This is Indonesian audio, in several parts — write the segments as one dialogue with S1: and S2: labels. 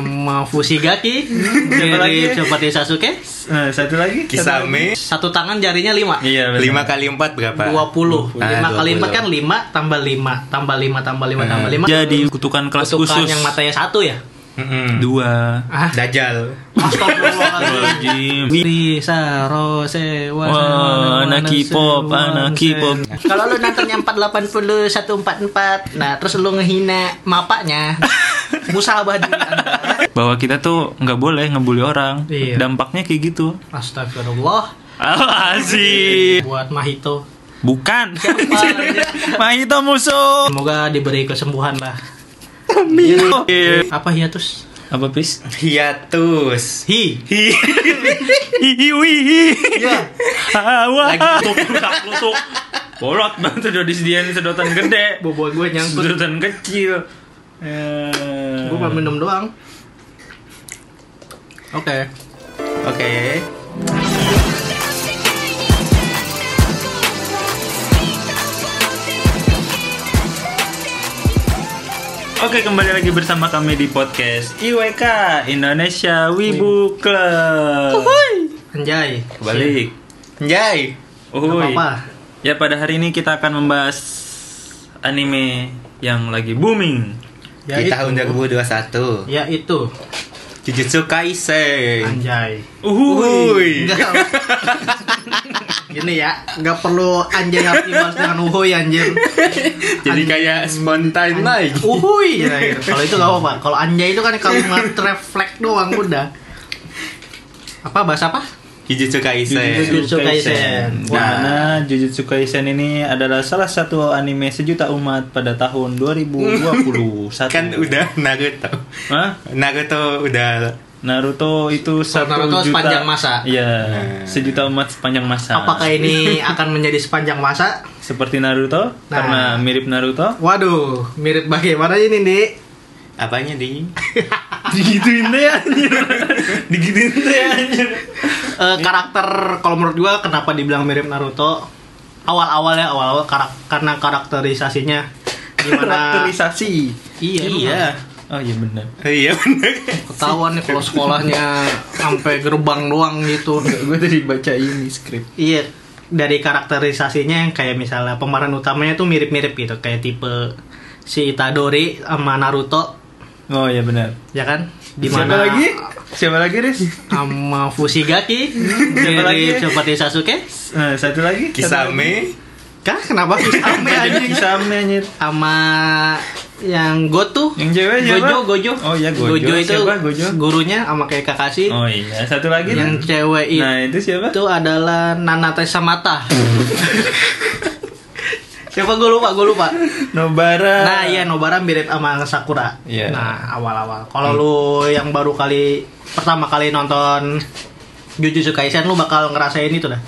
S1: sama Fushigaki
S2: Hmm.
S1: dari seperti Sasuke
S3: Eh, satu lagi satu lagi.
S4: Kisame
S1: satu tangan jarinya lima
S3: Iya, benar.
S4: 5 kali 4 berapa?
S1: 20
S4: Ah,
S1: 5
S2: Nah,
S1: kali
S4: 20.
S1: 4 kan 5 tambah 5 tambah 5 tambah 5 tambah 5
S2: Jadi kutukan kelas
S1: kutukan
S2: khusus
S1: yang matanya satu ya
S4: Mm-mm.
S2: dua.
S1: ah
S4: Dajjal.
S1: Astagfirullahaladzim
S2: Jim.
S1: Bisa rose wa-
S2: Wah, anaki
S1: wa-
S2: pop,
S1: wa-
S2: anaki pop.
S1: Kalau lu nontonnya 480 144, nah terus lu ngehina mapaknya. Musabah diri Anda.
S2: Bahwa kita tuh nggak boleh ngebully orang.
S1: Iya.
S2: Dampaknya kayak gitu.
S1: Astagfirullah.
S2: Alhasil.
S1: Buat Mahito.
S2: Bukan.
S1: Siapa?
S2: Mahito musuh.
S1: Semoga diberi kesembuhan lah.
S2: Iya.
S1: Apa hiatus?
S2: Apa pis?
S4: Hiatus.
S1: Hi.
S2: Hiwi.
S1: Iya.
S2: Hawa. Tusuk Bolot banget udah disediain sedotan gede.
S1: Bobo gue nyangkut.
S2: Sedotan kecil. Eh.
S1: Gue mau minum doang. Oke.
S4: Oke.
S2: Oke kembali lagi bersama kami di podcast IWK Indonesia Wibu Club
S1: Anjay.
S2: Balik
S4: Anjay.
S1: Gak
S2: Uhuy.
S1: apa-apa.
S2: Ya pada hari ini kita akan membahas anime yang lagi booming
S1: Ya
S4: di
S1: itu.
S4: tahun 2021.
S1: Ya itu.
S4: Jujutsu Kaisen.
S1: Anjay.
S2: Uhuy.
S4: Uy.
S1: Enggak. Gini ya, nggak perlu anjay harus dibahas dengan uhuy anjir.
S4: Jadi kayak spontan naik.
S1: Uhuy. gitu. Kalau itu nggak apa-apa. Kalau anjay itu kan kalau nggak refleks doang udah. Apa bahasa apa?
S4: Jujutsu Kaisen.
S1: Jujutsu Kaisen.
S2: Di mana Jujutsu Kaisen ini adalah salah satu anime sejuta umat pada tahun 2021
S4: Kan udah Naruto.
S2: Hah?
S4: Naruto udah
S2: Naruto itu satu
S1: Naruto
S2: juta
S1: sepanjang masa.
S2: Iya,
S4: Nah.
S2: sejuta umat sepanjang masa
S1: Apakah ini akan menjadi sepanjang masa?
S2: seperti
S1: Nah.
S2: Naruto karena mirip Naruto
S1: Waduh, mirip bagaimana ini, Dik?
S4: apanya di?
S2: digituin deh anjir digituin deh anjir
S1: Eh, karakter kalau menurut gua kenapa dibilang mirip Naruto? Awal-awalnya awal-awal karak- karena karakterisasinya gimana?
S2: karakterisasi
S1: Iya, iya.
S2: oh iya benar
S4: Iya bener.
S1: Ketahuan nih kalau sekolahnya sampai gerbang doang gitu.
S2: gue tadi baca ini skrip
S1: Iya, dari karakterisasinya yang kayak misalnya pemeran utamanya tuh mirip-mirip gitu, kayak tipe si Itadori sama Naruto,
S2: oh iya benar
S1: ya kan?
S2: siapa
S1: Dimana
S2: lagi siapa lagi Riz
S1: sama Fushigaki dari
S2: lagi?
S1: seperti Sasuke.
S2: Eh, satu lagi satu lagi.
S4: Kisame.
S1: Kah kenapa Kisame
S2: Jadi
S1: anjing?
S2: kisame anjir
S1: Sama yang Gotu.
S2: Yang cewek siapa?
S1: Gojo, Gojo.
S2: Oh iya, Gojo.
S1: itu
S2: Siapa Gojo?
S1: gurunya sama kayak Kakashi.
S2: oh iya satu lagi
S1: yang
S2: Riz.
S1: cewek
S2: nah itu siapa
S1: itu adalah Nanate Samata. siapa gue lupa, gue lupa.
S2: Nobara
S1: Nah, iya Nobara mirip sama Sakura.
S2: Iya.
S1: Nah, awal-awal. Kalau lu yang baru kali pertama kali nonton Jujutsu Kaisen lu bakal ngerasain itu dah.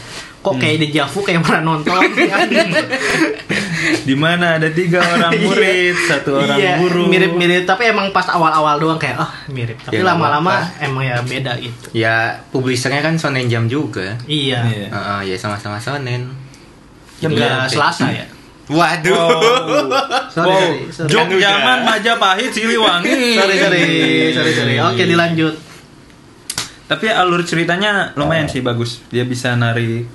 S1: Kok
S2: Hmm.
S1: kayak di Javu kayak pernah nonton.
S2: di mana ada tiga orang murid satu orang
S1: Iya,
S2: guru
S1: Mirip-mirip, tapi emang pas awal-awal doang kayak ah mirip. Tapi
S4: Ya,
S1: lama-lama emang ya beda gitu.
S4: Ya publisernya kan Shonen Jam juga.
S1: Iya.
S2: Iya.
S4: Heeh, ya sama-sama Shonen.
S1: Jam
S4: Iya,
S1: tiga
S4: oke.
S1: Selasa ya.
S4: Waduh.
S1: Sorry,
S2: wow,
S1: sorry, sorry.
S2: Jog
S4: Kan udah.
S2: zaman Majapahit Siliwangi.
S1: Sorry, sorry, sorry, sorry. Oke, dilanjut.
S2: Tapi alur ceritanya lumayan sih bagus. Dia bisa nari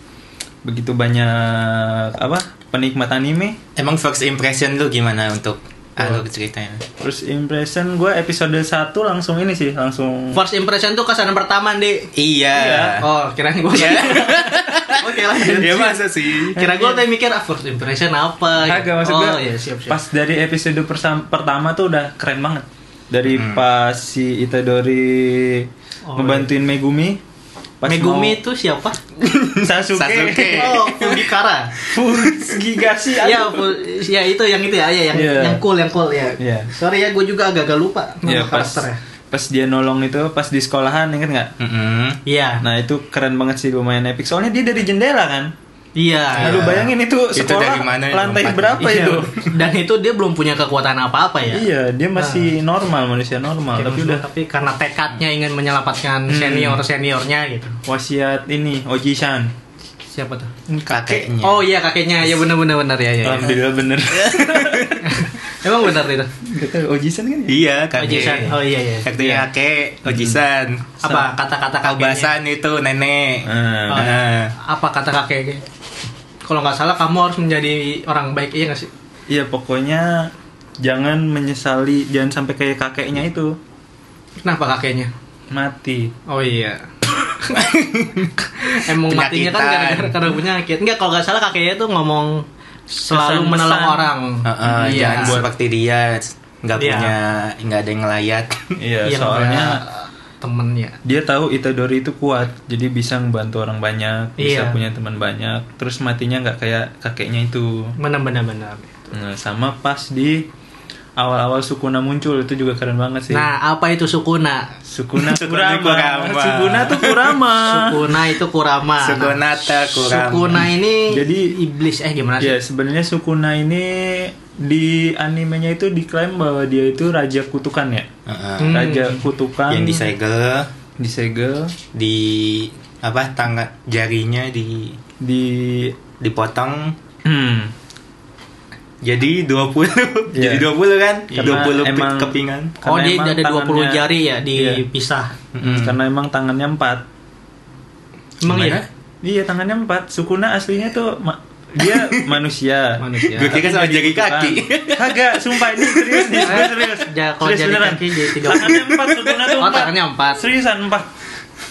S2: begitu banyak apa penikmat anime.
S4: Emang first impression lu gimana untuk ah, alur
S1: Oh.
S4: ceritanya?
S2: Terus impression gue episode 1 langsung ini sih langsung.
S1: First impression tuh kesan pertama, Di.
S4: Iya.
S1: Oh, kirain gue.
S4: Iya.
S1: Oke, lanjut.
S4: Ya masa sih?
S1: Kira gue tadi mikir ah, first impression apa?
S2: Kagak maksud
S1: oh,
S2: gua,
S1: iya, siap, siap.
S2: Pas dari episode persam- pertama tuh udah keren banget. Dari pas si Itadori
S1: Hmm. Oh,
S2: ngebantuin Megumi. Pas
S1: Megumi itu siapa?
S2: mau- Sasuke.
S4: Sasuke.
S1: Oh, Fugikara.
S2: Fugigasi.
S1: Iya, Fu- ya itu yang itu ya, ya yang
S2: Iya.
S1: yang cool, yang cool ya.
S2: Iya.
S1: Sorry ya, gue juga agak-agak lupa
S2: Ya
S1: nama
S2: pas
S1: karakternya.
S2: pas dia nolong itu pas di sekolahan inget nggak?
S4: Mm-mm.
S1: Iya.
S2: Nah itu keren banget sih lumayan epic. Soalnya dia dari jendela kan.
S1: Iya.
S2: Nah, lu bayangin itu
S4: Itu dari
S2: sekolah
S4: mana,
S2: lantai
S4: tempat?
S2: berapa
S1: Iya.
S2: itu?
S1: Dan itu dia belum punya kekuatan apa-apa ya.
S2: Iya dia masih normal manusia normal
S1: Oke,
S2: tapi
S1: maksudnya,
S2: udah Hmm.
S1: tapi karena tekadnya ingin menyelamatkan senior seniornya gitu.
S2: wasiat ini Oji-san.
S1: Siapa tuh? iya,
S4: Kakeknya.
S1: Oh iya kakeknya, ya benar-benar benar ya ya. ya.
S2: Alhamdulillah bener.
S1: Emang benar itu.
S2: Gak tau, Ojisan kan ya?
S3: Iya, kakek.
S1: Ojisan. Oh iya iya.
S3: Kakek kakek,
S4: oh,
S3: ojisan.
S1: Apa kata-kata kakeknya?
S4: Kebasan itu nenek.
S2: Ah.
S1: Oh,
S3: Nah.
S1: Apa kata kakeknya? Kalau nggak salah kamu harus menjadi orang baik iya nggak sih?
S2: Iya pokoknya jangan menyesali, jangan sampai kayak kakeknya itu
S1: Kenapa kakeknya?
S2: mati.
S1: Oh iya. Emang matinya kan
S3: Penyakitan.
S1: gara-gara karena penyakit. Enggak kalau nggak salah kakeknya tuh ngomong selalu
S2: Pesan-pesan.
S1: menolong orang.
S4: Heeh, Jangan seperti dia nggak
S1: Iya.
S4: punya nggak ada yang layak.
S2: Iya,
S1: Iya,
S2: soalnya
S1: soalnya temennya.
S2: dia tahu Itadori itu kuat, jadi bisa membantu orang banyak, bisa
S1: Iya.
S2: punya teman banyak. Terus matinya nggak kayak kakeknya itu.
S1: Benar-benar.
S2: Nah, sama pas di awal-awal Sukuna muncul itu juga keren banget sih.
S1: Nah, apa itu Sukuna?
S2: Sukuna
S3: Sukuna
S2: Kurama.
S3: Kurama.
S2: Sukuna tuh Kurama.
S4: Ah.
S1: Sukuna itu Kurama. Nah,
S3: Sugunata kurang.
S1: Sukuna ini
S2: Jadi-
S1: iblis eh gimana sih?
S2: Ya sebenarnya Sukuna ini di animenya itu diklaim bahwa dia itu raja kutukan ya.
S4: Heeh.
S1: Hmm.
S2: Raja kutukan
S4: Yang disegel
S2: disegel,
S4: di apa tangga jarinya di
S2: di
S4: dipotong
S2: hmm,
S4: jadi 20
S2: Iya.
S4: jadi 20 kan
S2: Karena
S4: 20
S2: emang-
S4: pi- kepingan
S1: Oh,
S2: karena
S1: dia
S2: emang
S1: ada 20
S2: tangannya-
S1: jari ya
S2: Iya.
S1: dipisah.
S4: Mm-mm.
S2: karena emang tangannya empat.
S1: Emang
S4: Gimana?
S1: iya?
S2: Iya tangannya empat. Sukuna aslinya tuh ma- dia manusia.
S1: Manusia.
S4: Gue kira
S1: kan
S4: sama jari kaki.
S2: Kagak, sumpah ini serius nih, serius serius.
S1: Ja- kalau
S2: Serius
S1: jari
S2: beneran.
S1: kaki jadi tiga puluh.
S2: Tangannya empat, Sukuna tuh
S1: Oh,
S2: empat.
S1: tangannya empat.
S2: Seriusan empat.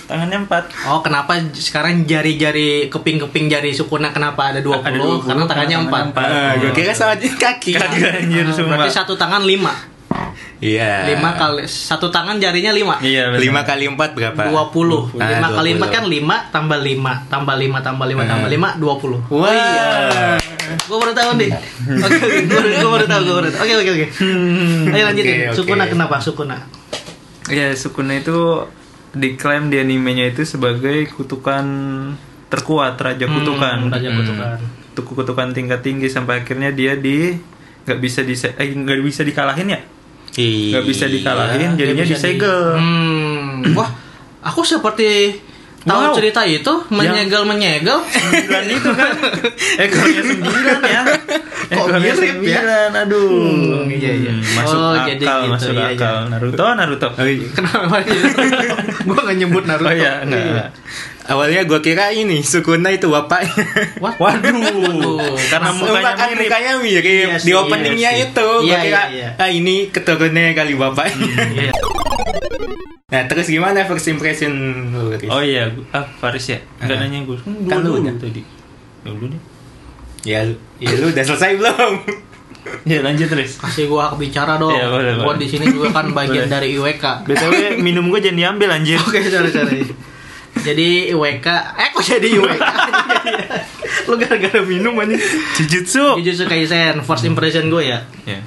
S2: Tangannya empat.
S1: Oh, kenapa j- sekarang jari-jari keping-keping jari Sukuna kenapa ada 20?
S2: Ada
S1: karena
S2: 20,
S1: tangannya
S2: karena
S1: empat.
S2: tangannya empat.
S4: Eh,
S1: Oh.
S4: gue kira sama jari kaki
S2: Kagak anjir
S1: Ah,
S2: sumpah.
S1: Berarti satu tangan lima
S3: Eh.
S4: iya
S1: lima kali satu tangan jarinya lima
S2: Iya, bener.
S4: lima kali empat berapa
S1: dua puluh
S4: Ah,
S1: lima kali
S4: 20.
S1: empat kan lima tambah lima tambah lima tambah lima tambah lima dua puluh
S4: wah iya.
S1: gue baru tahu nih oke gue baru tahu gue baru tahu oke oke oke
S2: Hmm.
S1: ayo lanjutin
S4: Oke, oke.
S1: sukuna kenapa sukuna
S2: Ya, Sukuna itu diklaim di animenya itu sebagai kutukan terkuat, raja
S1: Hmm,
S2: kutukan.
S1: raja kutukan
S2: Tuku kutukan tingkat tinggi sampai akhirnya dia di nggak bisa di eh, nggak bisa dikalahin ya? Nggak bisa
S4: Iya.
S2: dikalahin,
S1: Dia
S2: jadinya
S1: Iya, bisa di-
S2: disegel.
S1: Hmm, wah aku seperti tahu
S2: Wow.
S1: cerita itu menyegel menyegel
S2: sembilan itu kan ekornya sembilan ya ekornya
S1: mirip ya?
S2: sembilan aduh
S1: Hmm, iya, iya.
S2: Hmm, masuk
S1: Oh,
S2: akal
S1: jadi gitu,
S2: masuk
S1: iya,
S2: akal
S1: iya.
S2: Naruto Naruto
S4: Oh, iya.
S1: kenapa gue nggak nyebut Naruto
S2: oh iya enggak
S4: awalnya gue kira ini Sukuna itu bapaknya
S1: What?
S2: waduh
S1: Waduh.
S2: karena
S4: Mas-
S2: mukanya
S4: kan
S2: mirip
S4: mukanya mirip
S1: Iya
S4: di
S1: sih,
S4: openingnya
S1: iya sih.
S4: itu
S1: Iya,
S4: gue kira
S1: iya, iya.
S4: ah ini keturunannya kali bapaknya
S1: Iya.
S4: nah terus gimana first impression lu Riz?
S2: oh iya gua- ah Faris ya
S1: Nah.
S2: enggak
S4: Ah.
S2: nanya gue kan
S4: Kan lu
S2: dulu
S4: udah.
S2: tadi dulu deh
S4: ya lu, ya lu udah selesai belum
S2: ya lanjut Riz
S1: kasih gua hak bicara dong.
S2: Iya, boleh,
S1: gua
S2: boleh.
S1: di sini juga kan bagian
S2: Boleh.
S1: dari IWK.
S2: btw minum gue jangan diambil anjir
S1: Oke, sorry sorry. Jadi IWK, eh kok jadi IWK? Lu gara-gara minum aja.
S2: jujutsu
S1: Jujutsu Kaisen, first impression gue ya.
S2: ya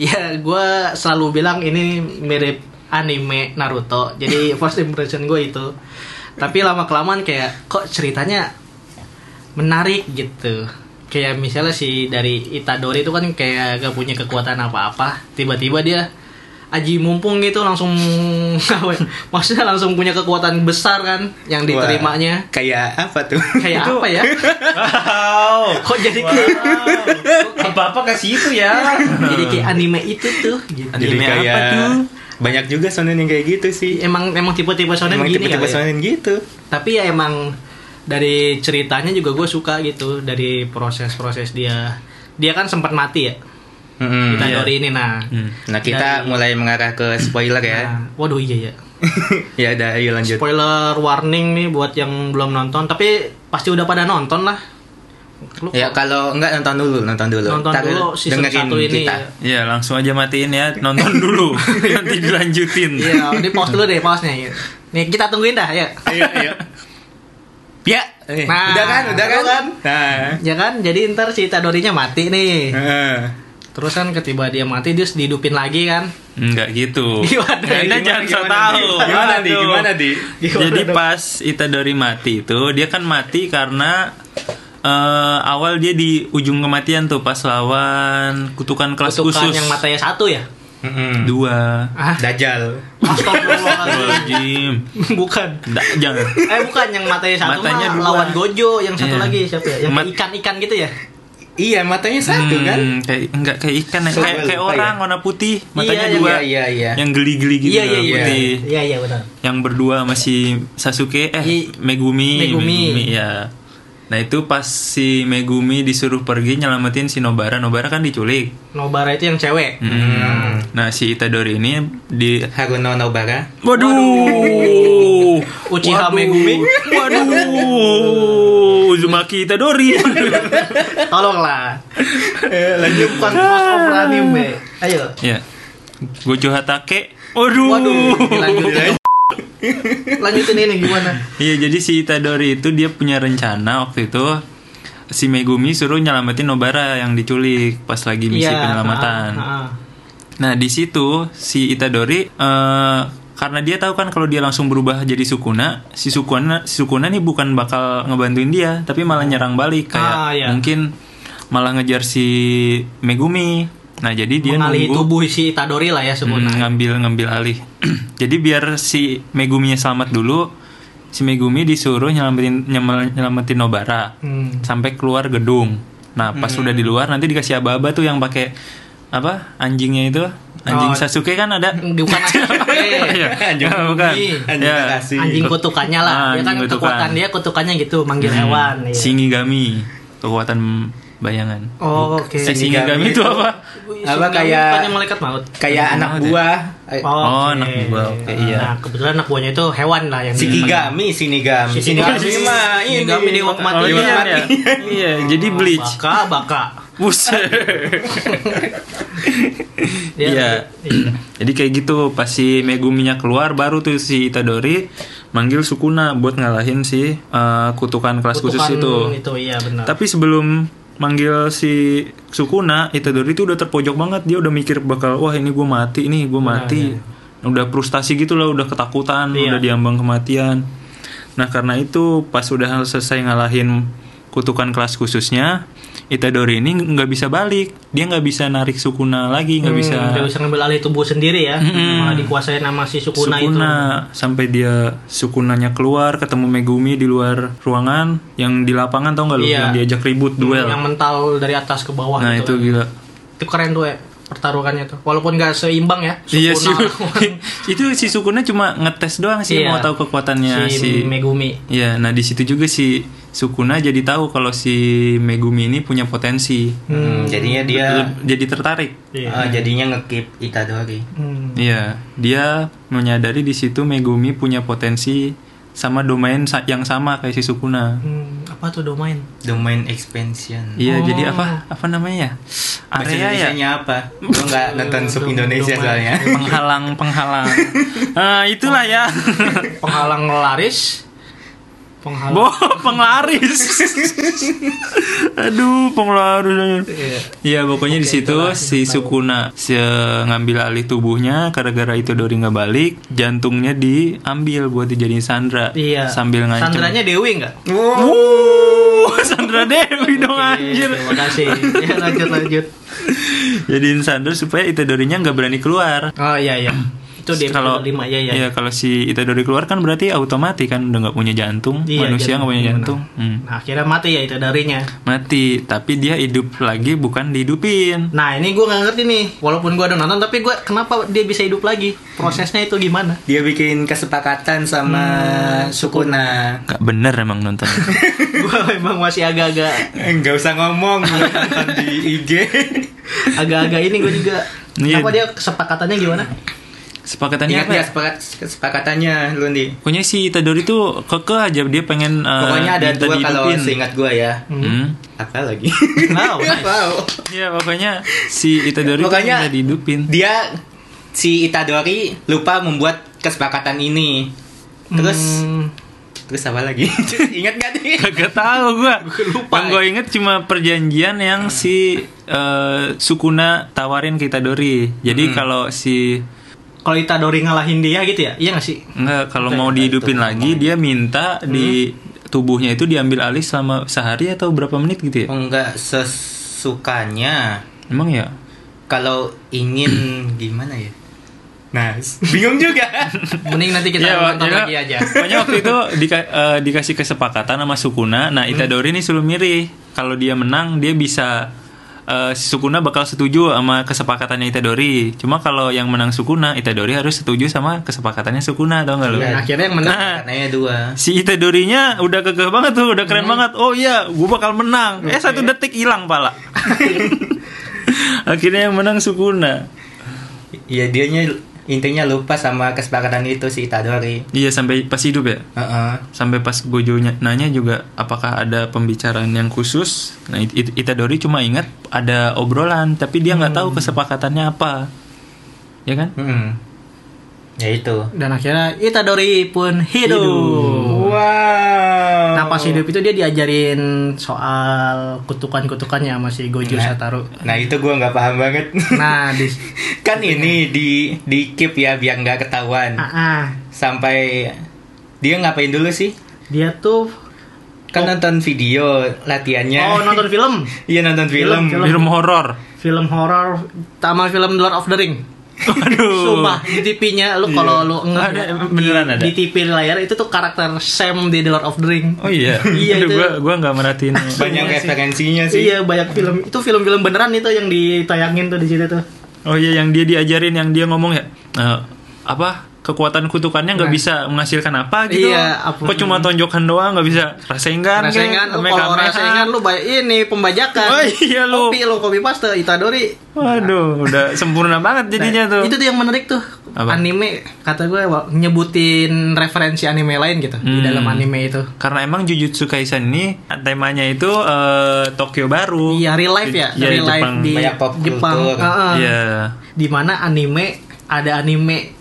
S1: Ya, gua selalu bilang ini mirip anime Naruto. Jadi first impression gue itu. Tapi lama kelamaan kayak kok ceritanya menarik gitu. Kayak misalnya si dari Itadori itu kan kayak gak punya kekuatan apa-apa, tiba-tiba dia aji mumpung gitu langsung maksudnya langsung punya kekuatan besar kan yang diterimanya.
S4: Wah, kayak apa tuh
S1: Kayak
S2: Itu-
S1: apa ya?
S2: wow
S1: Kok jadi
S2: wow.
S1: kayak
S2: apa apa ke situ ya
S1: jadi kayak anime itu tuh gitu.
S2: Anime apa tuh?
S4: banyak juga sonen yang kayak gitu sih
S1: Emang emang tipe-tipe shonen
S4: emang
S1: Iya, gini
S4: tipe-tipe
S1: kali ya?
S4: sonen gitu
S1: tapi ya emang dari ceritanya juga gue suka gitu dari proses-proses dia dia kan sempat mati ya
S4: Mm-mm. Iya.
S1: kita Dori ini nah
S2: Hmm.
S4: nah kita
S1: Dari-
S4: mulai mengarah ke spoiler ya
S1: Nah, waduh iya ya
S4: ya udah ayo lanjut
S1: spoiler warning nih buat yang belum nonton tapi pasti udah pada nonton lah Lu
S4: ya
S3: Iya, kan?
S4: kalau enggak nonton dulu nonton dulu
S1: nonton
S4: Ntar
S1: dulu season
S4: dengerin
S1: satu ini
S4: kita.
S1: ya.
S2: Ya langsung aja matiin ya Nonton dulu Nanti dilanjutin
S1: iya ini pause dulu deh pause nya nih kita tungguin dah ya
S4: ayo ayo ya eh,
S1: Nah,
S4: udah kan udah kan,
S1: udah kan?
S4: nah Eh,
S1: ya kan jadi ntar si Itadorinya mati nih
S4: Heeh.
S1: terus kan ketiba dia mati dia dihidupin lagi kan
S2: Enggak gitu
S1: Gimana?
S2: Anda jangan so
S4: Gimana,
S2: tau
S4: Di? gimana di
S2: Aduh.
S4: gimana di
S1: Gimana
S2: Jadi
S1: dong?
S2: pas Itadori mati itu Dia kan mati karena eh, Awal dia di ujung kematian tuh Pas lawan kutukan kelas
S1: kutukan
S2: khusus
S1: yang matanya satu ya
S4: Mm-mm.
S2: Dua
S1: ah
S4: Dajjal
S1: Astagfirullahaladzim
S2: Jim
S1: bukan
S2: Jangan
S1: Eh bukan yang matanya satu
S2: Matanya
S1: mah
S2: dua.
S1: lawan Gojo yang satu
S2: Iya.
S1: lagi siapa ya? Yang
S2: Mat-
S1: ikan-ikan gitu ya?
S3: Iya, matanya satu
S2: Hmm,
S3: kan?
S2: kayak enggak kayak ikan
S3: So,
S2: kayak,
S3: gua
S2: kayak
S3: lupa
S2: orang
S3: ya.
S2: warna putih matanya
S3: iya,
S2: dua
S3: Iya, iya, iya.
S2: yang geli-geli gitu
S3: Iya,
S2: loh,
S3: iya, iya.
S2: putih
S1: Iya iya benar.
S2: yang berdua masih Sasuke eh
S1: Iya.
S2: Megumi,
S1: Megumi.
S2: ya nah itu pas si Megumi disuruh pergi nyelamatin si Nobara Nobara kan diculik
S1: Nobara itu yang cewek.
S2: Hmm. nah si Itadori ini di
S4: Haruno Nobara.
S2: Waduh.
S1: Uchiha
S2: Waduh.
S1: Megumi.
S2: Waduh. Uzumaki Itadori.
S1: Tolonglah. Eh, Lanjut bukan crossover anime. Ayo.
S2: ya. Gojo Hatake. Waduh.
S1: Waduh, dilanjutin. Lanjutin ini gimana?
S2: Iya, jadi si Itadori itu dia punya rencana waktu itu si Megumi suruh nyelamatin Nobara yang diculik pas lagi
S1: Iya,
S2: misi penyelamatan.
S1: ah, ah.
S2: Nah, di situ si Itadori eh karena dia tahu kan kalau dia langsung berubah jadi Sukuna, si Sukuna si Sukuna nih bukan bakal ngebantuin dia, tapi malah nyerang balik kayak
S1: Ah, iya.
S2: mungkin malah ngejar si Megumi. Nah, jadi dia
S1: Mengalih
S2: nunggu
S1: tubuh si Itadori lah ya
S2: Hmm,
S1: sebenarnya.
S2: ngambil ngambil alih. Jadi biar si Meguminya selamat dulu, si Megumi disuruh nyelamatin nyemel- nyelamatin Nobara
S1: Hmm.
S2: sampai keluar gedung. Nah, pas sudah di luar nanti dikasih aba-aba tuh yang pakai apa? Anjingnya itu. Anjing
S1: Oh.
S2: Sasuke kan ada.
S1: Bukan anjing,
S2: Iya. Ah, bukan.
S3: Anjing
S2: Ya.
S3: kasih.
S1: anjing kutukannya lah.
S2: Ah,
S1: dia kan
S2: anjing kutukan.
S1: kekuatan dia kutukannya gitu manggil
S2: Hmm.
S1: hewan. iya.
S2: Shinigami, kekuatan bayangan.
S1: Oh, oke.
S2: Eh, Shinigami itu apa?
S3: Apa kayak-
S1: bukannya malaikat maut?
S2: Anjing
S3: Kayak anak
S2: banget ya.
S3: buah. Eh,
S2: Oh,
S1: oke.
S2: anak buah, oke, iya.
S1: Nah, kebetulan anak buahnya itu hewan lah yang
S3: Shikigami, Shinigami. iya,
S1: Shinigami.
S3: mah ini.
S1: Shinigami di Walk Mati.
S2: Oh,
S3: Di Walk
S2: iya,
S3: Mati.
S2: iya. Iya, jadi
S1: Oh,
S2: bleach.
S1: Baka, baka.
S2: Buset.
S1: Dia-
S2: Iya. Jadi kayak gitu pas si Meguminya keluar baru tuh si Itadori manggil Sukuna buat ngalahin si eh, kutukan kelas khusus
S1: Kutukan
S2: itu.
S1: Itu iya benar.
S2: Tapi sebelum manggil si Sukuna, Itadori itu udah terpojok banget. Dia udah mikir bakal wah ini gue mati, ini
S1: Nah,
S2: gue mati. Udah frustasi gitu loh, udah ketakutan,
S1: Iya.
S2: udah diambang kematian. Nah, karena itu pas udah selesai ngalahin kutukan kelas khususnya, Itadori ini nggak bisa balik. Dia nggak bisa narik Sukuna lagi, nggak
S1: Hmm,
S2: bisa
S1: dia bisa ngambil alih tubuh sendiri ya. Malah dikuasain sama si Sukuna,
S2: Sukuna
S1: itu.
S2: sampai dia Sukunanya keluar ketemu Megumi di luar ruangan yang di lapangan tau nggak lu
S1: Iya.
S2: yang diajak ribut duel.
S1: Yang mental dari atas ke bawah
S2: nah, itu
S1: gitu.
S2: gila.
S1: Itu keren tuh ya pertarungannya tuh. Walaupun nggak seimbang ya.
S2: Iya sih.
S1: Sukuna lawan
S2: itu si Sukuna cuma ngetes doang sih
S1: Iya.
S2: mau tahu
S1: si,
S2: kekuatannya Ya, si.
S1: Megumi.
S2: Iya, nah di situ juga si Sukuna jadi tahu kalau si Megumi ini punya potensi.
S3: Hmm, jadinya dia
S2: Jadi tertarik.
S1: Iya.
S3: eh, jadinya ngekip Itadori.
S1: Hmm.
S2: Iya, dia menyadari di situ Megumi punya potensi sama domain sa- yang sama kayak si Sukuna.
S1: Hmm, apa tuh domain?
S3: Domain expansion.
S2: Iya,
S1: Oh.
S2: jadi apa? Apa namanya ya? Area
S3: Bahasa
S2: ya?
S3: Indonesianya apa? Gue nggak nonton sub Indonesia
S1: Domain.
S3: soalnya.
S2: Penghalang, penghalang. Ah, itulah ya.
S1: Penghalang laris. Penghalang.
S2: Boh, penglaris. Aduh, penglaris.
S1: Iya.
S2: Iya, pokoknya di situ si Sukuna si, eh, ngambil alih tubuhnya gara-gara itu Dori nggak balik, jantungnya diambil buat dijadiin Sandra.
S1: Iya.
S2: Sambil ngancem.
S1: Sandranya Dewi nggak?
S2: Wuh, Sandra Dewi dong anjir.
S1: Oke, Terima kasih. Ya, lanjut lanjut.
S2: Jadiin Sandra supaya Itadorinya nggak berani keluar.
S1: Oh iya iya. Itu di
S2: kalau
S1: episode 5 ya ya.
S2: iya, kalau si Itadori keluar kan berarti otomatis kan udah nggak punya jantung
S1: Iya,
S2: manusia nggak punya
S1: benar.
S2: jantung Hmm.
S1: Nah, akhirnya mati ya itu darinya.
S2: mati tapi dia hidup lagi bukan dihidupin
S1: Nah, ini gue nggak ngerti nih. Walaupun gue udah nonton, tapi gue kenapa dia bisa hidup lagi? Prosesnya itu gimana?
S3: Dia bikin kesepakatan sama
S1: Hmm.
S3: Sukuna.
S2: nggak bener emang nonton
S1: gue memang masih agak-agak,
S3: Enggak Eh, usah ngomong gua nonton di IG.
S1: agak-agak ini gue juga.
S2: Iya.
S1: Kenapa dia kesepakatannya gimana?
S2: sepakatannya
S3: Ingat
S2: apa
S3: ya
S2: ya?
S3: sepakat, kesepakatannya lu nih.
S2: pokoknya si Itadori tuh kekeh aja dia pengen eh,
S3: Pokoknya ada
S2: minta
S3: dua kalau
S2: dihidupin.
S3: seingat gua ya.
S2: Hmm.
S3: Apa lagi?
S1: Wow, nice.
S3: Wow.
S2: Iya pokoknya si Itadori tuh
S3: Pokoknya-
S2: minta dihidupin
S3: Dia si Itadori lupa membuat kesepakatan ini. Terus
S1: Hmm,
S3: terus apa lagi? Ingat gak nih?
S2: Kagak tahu gua.
S1: lupa.
S2: Yang gua inget cuma perjanjian yang si eh, Sukuna tawarin ke Itadori. Jadi kalau si
S1: kalau Itadori ngalahin dia gitu ya? Iya nggak sih?
S2: Enggak, kalau mau dihidupin lagi dia minta
S1: Hmm.
S2: di tubuhnya itu diambil alih selama sehari atau berapa menit gitu ya?
S1: Oh.
S3: Oh, Enggak sesukanya.
S2: Emang ya?
S3: Kalau ingin gimana ya? Nah, bingung juga.
S1: Mending nanti kita
S2: Iya, Pak.
S1: nonton
S2: Iya.
S1: lagi aja.
S2: Pokoknya waktu itu dika- eh, dikasih kesepakatan sama Sukuna.
S1: Hmm.
S2: Nah, Itadori ini suruh milih. Kalau dia menang, dia bisa eh, si Sukuna bakal setuju sama kesepakatannya Itadori. Cuma kalau yang menang Sukuna, Itadori harus setuju sama kesepakatannya Sukuna, tau nggak lu?
S1: Dan akhirnya yang menang
S2: Nah,
S3: Katanya dua.
S2: si Itadorinya udah kekeh banget tuh, udah
S1: Hmm.
S2: keren banget. Oh iya, gua bakal menang. Eh satu detik hilang pala. Akhirnya yang menang Sukuna.
S3: Ya dianya intinya lupa sama kesepakatan itu si Itadori.
S2: Iya sampai pas hidup ya.
S3: Heeh.
S2: sampai pas Gojo nya- nanya juga apakah ada pembicaraan yang khusus nah It- It- Itadori cuma ingat ada obrolan tapi dia nggak tahu
S1: Hmm.
S2: kesepakatannya apa ya kan
S3: Hmm. Ya itu.
S1: dan akhirnya Itadori pun hidup.
S3: Wow.
S1: Nah pas hidup itu dia diajarin soal kutukan-kutukannya sama si Gojo
S3: Nah.
S1: Satoru.
S3: Nah itu gua nggak paham banget.
S1: Nah di
S3: kan ini di di keep ya biar nggak ketahuan.
S1: Ah, ah.
S3: Sampai dia ngapain dulu sih?
S1: dia tuh
S3: Kan nonton video latihannya.
S1: oh nonton film,
S3: Iya nonton film.
S1: Film,
S2: film horor
S1: film horor, sama film Lord of the Ring.
S2: aduh
S1: Sumpah di TV-nya lu kalau lu enggak
S2: Iya. Ada, beneran ada?
S1: di TV layar itu tuh karakter Sam di The Lord of the Ring.
S2: oh iya
S1: Iya,
S2: Aduh,
S1: itu.
S2: gua gua nggak merhatiin
S3: Banyak referensinya sih.
S1: Iya banyak film itu film-film beneran itu yang ditayangin tuh di situ tuh.
S2: oh iya yang dia diajarin yang dia ngomong ya eh, apa kekuatan kutukannya
S1: Nah.
S2: nggak bisa menghasilkan apa gitu
S1: Iya, apa-
S2: kok cuma tonjokan doang nggak bisa kan? rasengan
S1: Rasengan lu kalau
S2: kek, Kamehameha.
S1: rasengan lu bay- ini pembajakan.
S2: Oh, iya, lu.
S1: Kopi lu kopi paste Itadori.
S2: waduh udah sempurna banget jadinya
S1: Nah,
S2: tuh
S1: Itu tuh yang menarik tuh.
S2: Apa?
S1: Anime kata gue wa- nyebutin referensi anime lain gitu di
S2: Hmm.
S1: dalam anime itu.
S2: Karena emang Jujutsu Kaisen ini temanya itu eh, Tokyo baru.
S1: Iya real life ya,
S2: Iya,
S1: real life
S2: Jepang.
S1: di
S3: Banyak pop
S1: Jepang.
S3: culture.
S1: Heeh.
S2: Iya.
S1: di mana anime ada anime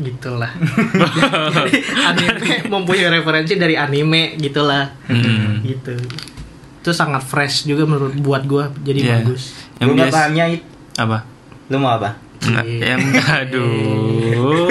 S1: gitulah. Jadi anime mempunyai referensi dari anime gitulah.
S2: Mm-mm.
S1: Gitu. Itu sangat fresh juga menurut buat gua jadi
S2: Iya.
S1: bagus.
S2: Yang
S3: Gua nggak
S2: biasa
S3: pahamnya itu.
S2: apa?
S3: Lu mau apa?
S2: Nggak,
S1: Iya.
S2: yang aduh.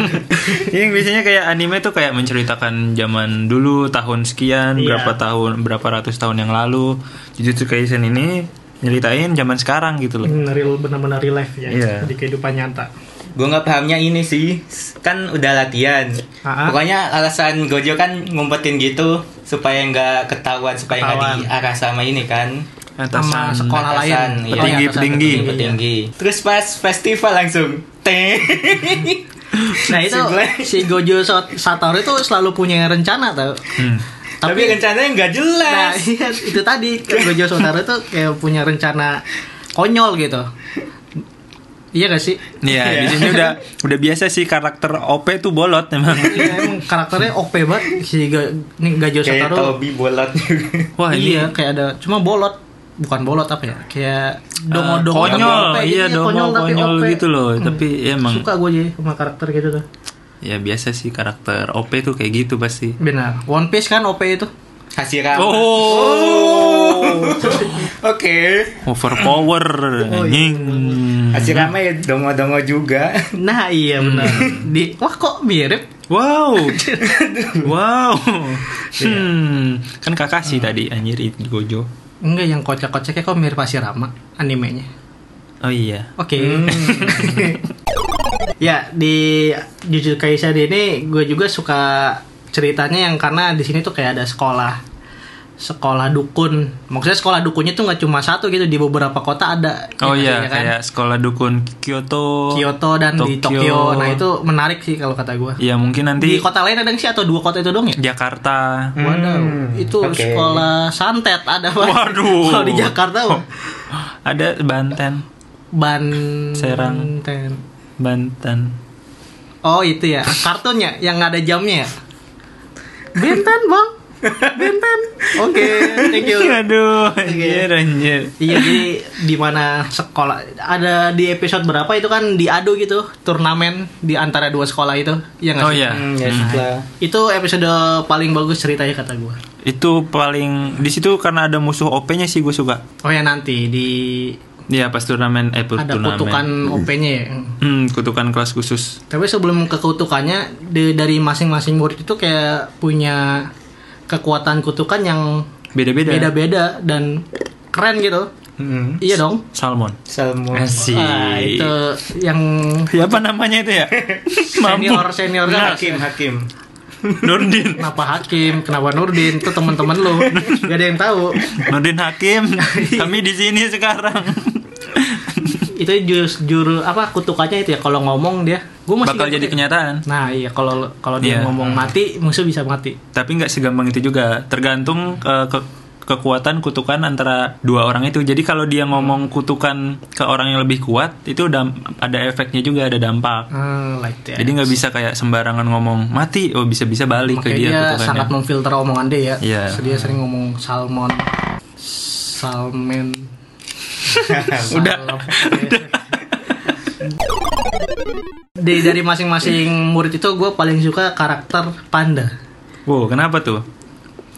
S2: yang biasanya kayak anime tuh kayak menceritakan zaman dulu tahun sekian,
S1: Iya.
S2: berapa tahun, berapa ratus tahun yang lalu. Jujutsu Kaisen ini nyeritain zaman sekarang gitu loh.
S1: Hmm, real benar-benar real life ya
S2: Iya.
S1: di kehidupan nyata.
S3: Gue nggak pahamnya ini sih, kan udah latihan.
S1: Ah.
S3: Pokoknya alasan Gojo kan ngumpetin gitu supaya nggak ketahuan, supaya
S1: Ketahuan.
S3: nggak diarah sama ini kan.
S1: Sama
S2: Atasan
S1: sekolah lain,
S3: Atasan, iya.
S1: Petinggi,
S2: Petinggi,
S1: atasan,
S2: petinggi.
S1: petinggi.
S3: Petinggi. Terus pas festival langsung teh.
S1: Nah itu
S3: Si Glenn.
S1: si Gojo Sat- Satoru itu selalu punya rencana tau.
S2: Hmm.
S3: Tapi, rencananya nggak
S1: nah,
S3: jelas.
S1: iya, itu tadi Gojo Satoru itu kayak punya rencana konyol gitu. Iya gak sih?
S2: Iya, di sini udah udah biasa sih karakter OP tuh bolot emang.
S1: Iya, emang karakternya OP banget si Ga, ini Gojo
S3: Kayak
S1: Satoru.
S3: Tobi bolot juga.
S2: Wah, ini eh,
S1: iya kayak ada cuma bolot bukan bolot apa ya kayak gitu, dongo dongo
S2: Eh, konyol, iya dongo konyol, gitu loh. Tapi ya emang
S1: Hmm. suka gue jadi sama karakter gitu tuh
S2: ya biasa sih karakter OP tuh kayak gitu pasti.
S1: benar One Piece kan OP itu
S3: Hashirama.
S2: Oh,
S3: Oke.
S2: overpower
S1: Oh, iya,
S2: anjing. Mhm.
S3: Hashirama ya dongo-dongo juga.
S1: nah iya benar di wah kok mirip
S2: Wow, wow.
S1: Iya.
S2: Hmm, kan Kakashi tadi anjir itu Gojo.
S1: Enggak yang kocak-kocaknya kok mirip Hashirama animenya.
S2: Oh iya.
S1: Oke. ya di Jujutsu Kaisen ini gue juga suka ceritanya yang karena di sini tuh kayak ada sekolah sekolah dukun. Maksudnya sekolah dukunnya tuh nggak cuma satu gitu di beberapa kota ada.
S2: Oh
S1: gitu
S2: iya,
S1: ya kan?
S2: kayak sekolah dukun Kyoto.
S1: Kyoto dan di Tokyo. Nah itu menarik sih kalau kata gue.
S2: Iya, mungkin
S1: Di
S2: nanti
S1: kota lain ada nggak sih atau dua kota itu dong ya?
S2: Jakarta.
S1: Waduh, itu
S3: oke.
S1: sekolah santet ada Pak.
S2: Waduh.
S1: Kalau di Jakarta mah.
S2: Ada Banten.
S1: Ban
S2: Serang.
S1: Ten.
S2: Banten.
S1: Oh itu ya kartunnya yang nggak ada jamnya ya. Benten bang, benten. Oke, thank you.
S2: Aduh, anjir anjir.
S1: Iya jadi di mana sekolah ada di episode berapa itu kan diadu gitu turnamen di antara dua sekolah itu ya nggak
S2: Oh
S1: sih?
S2: iya.
S3: Hmm, ya
S2: Hmm.
S3: sudah.
S1: Itu episode paling bagus ceritanya kata gue.
S2: Itu paling di situ karena ada musuh OP-nya sih gue suka.
S1: Oh ya nanti di
S2: Iya, pas turnamen eh
S1: ada
S2: turnamen.
S1: kutukan OP-nya ya.
S2: Hmm, kutukan kelas khusus.
S1: Tapi sebelum ke kutukannya di- dari masing-masing murid itu kayak punya kekuatan kutukan yang
S2: Beda-beda.
S1: beda-beda dan keren gitu.
S3: Mm.
S1: Iya dong.
S2: Salmon.
S3: Salmon.
S2: Asik.
S1: Wah, Ah, itu yang
S2: Siapa namanya itu ya?
S1: senior senior
S3: Hakim, Hakim.
S2: Nurdin.
S1: Kenapa Hakim? Kenapa Nurdin? Itu teman-teman lu. Gak ada yang tahu.
S2: Nurdin Hakim. Kami di sini sekarang.
S1: Itu jurus juru apa kutukannya itu ya kalau ngomong dia. Gua masih
S2: Bakal
S1: ingat
S2: jadi
S1: tuh.
S2: kenyataan.
S1: Nah, iya kalau kalau dia
S2: Iya.
S1: ngomong mati, musuh bisa mati.
S2: Tapi nggak segampang itu juga. Tergantung eh, ke- kekuatan kutukan antara dua orang itu. Jadi kalau dia ngomong kutukan ke orang yang lebih kuat, itu udah ada efeknya juga, ada dampak.
S1: Hmm, like that.
S2: Jadi nggak bisa kayak sembarangan ngomong mati, oh bisa-bisa balik
S1: Makanya
S2: ke dia,
S1: dia,
S2: kutukannya.
S1: sangat memfilter omongan dia ya.
S2: Iya.
S1: So, Dia sering ngomong salmon, salmen.
S2: Udah.
S1: salep. Di- dari masing-masing murid itu gue paling suka karakter panda.
S2: Wow, kenapa tuh?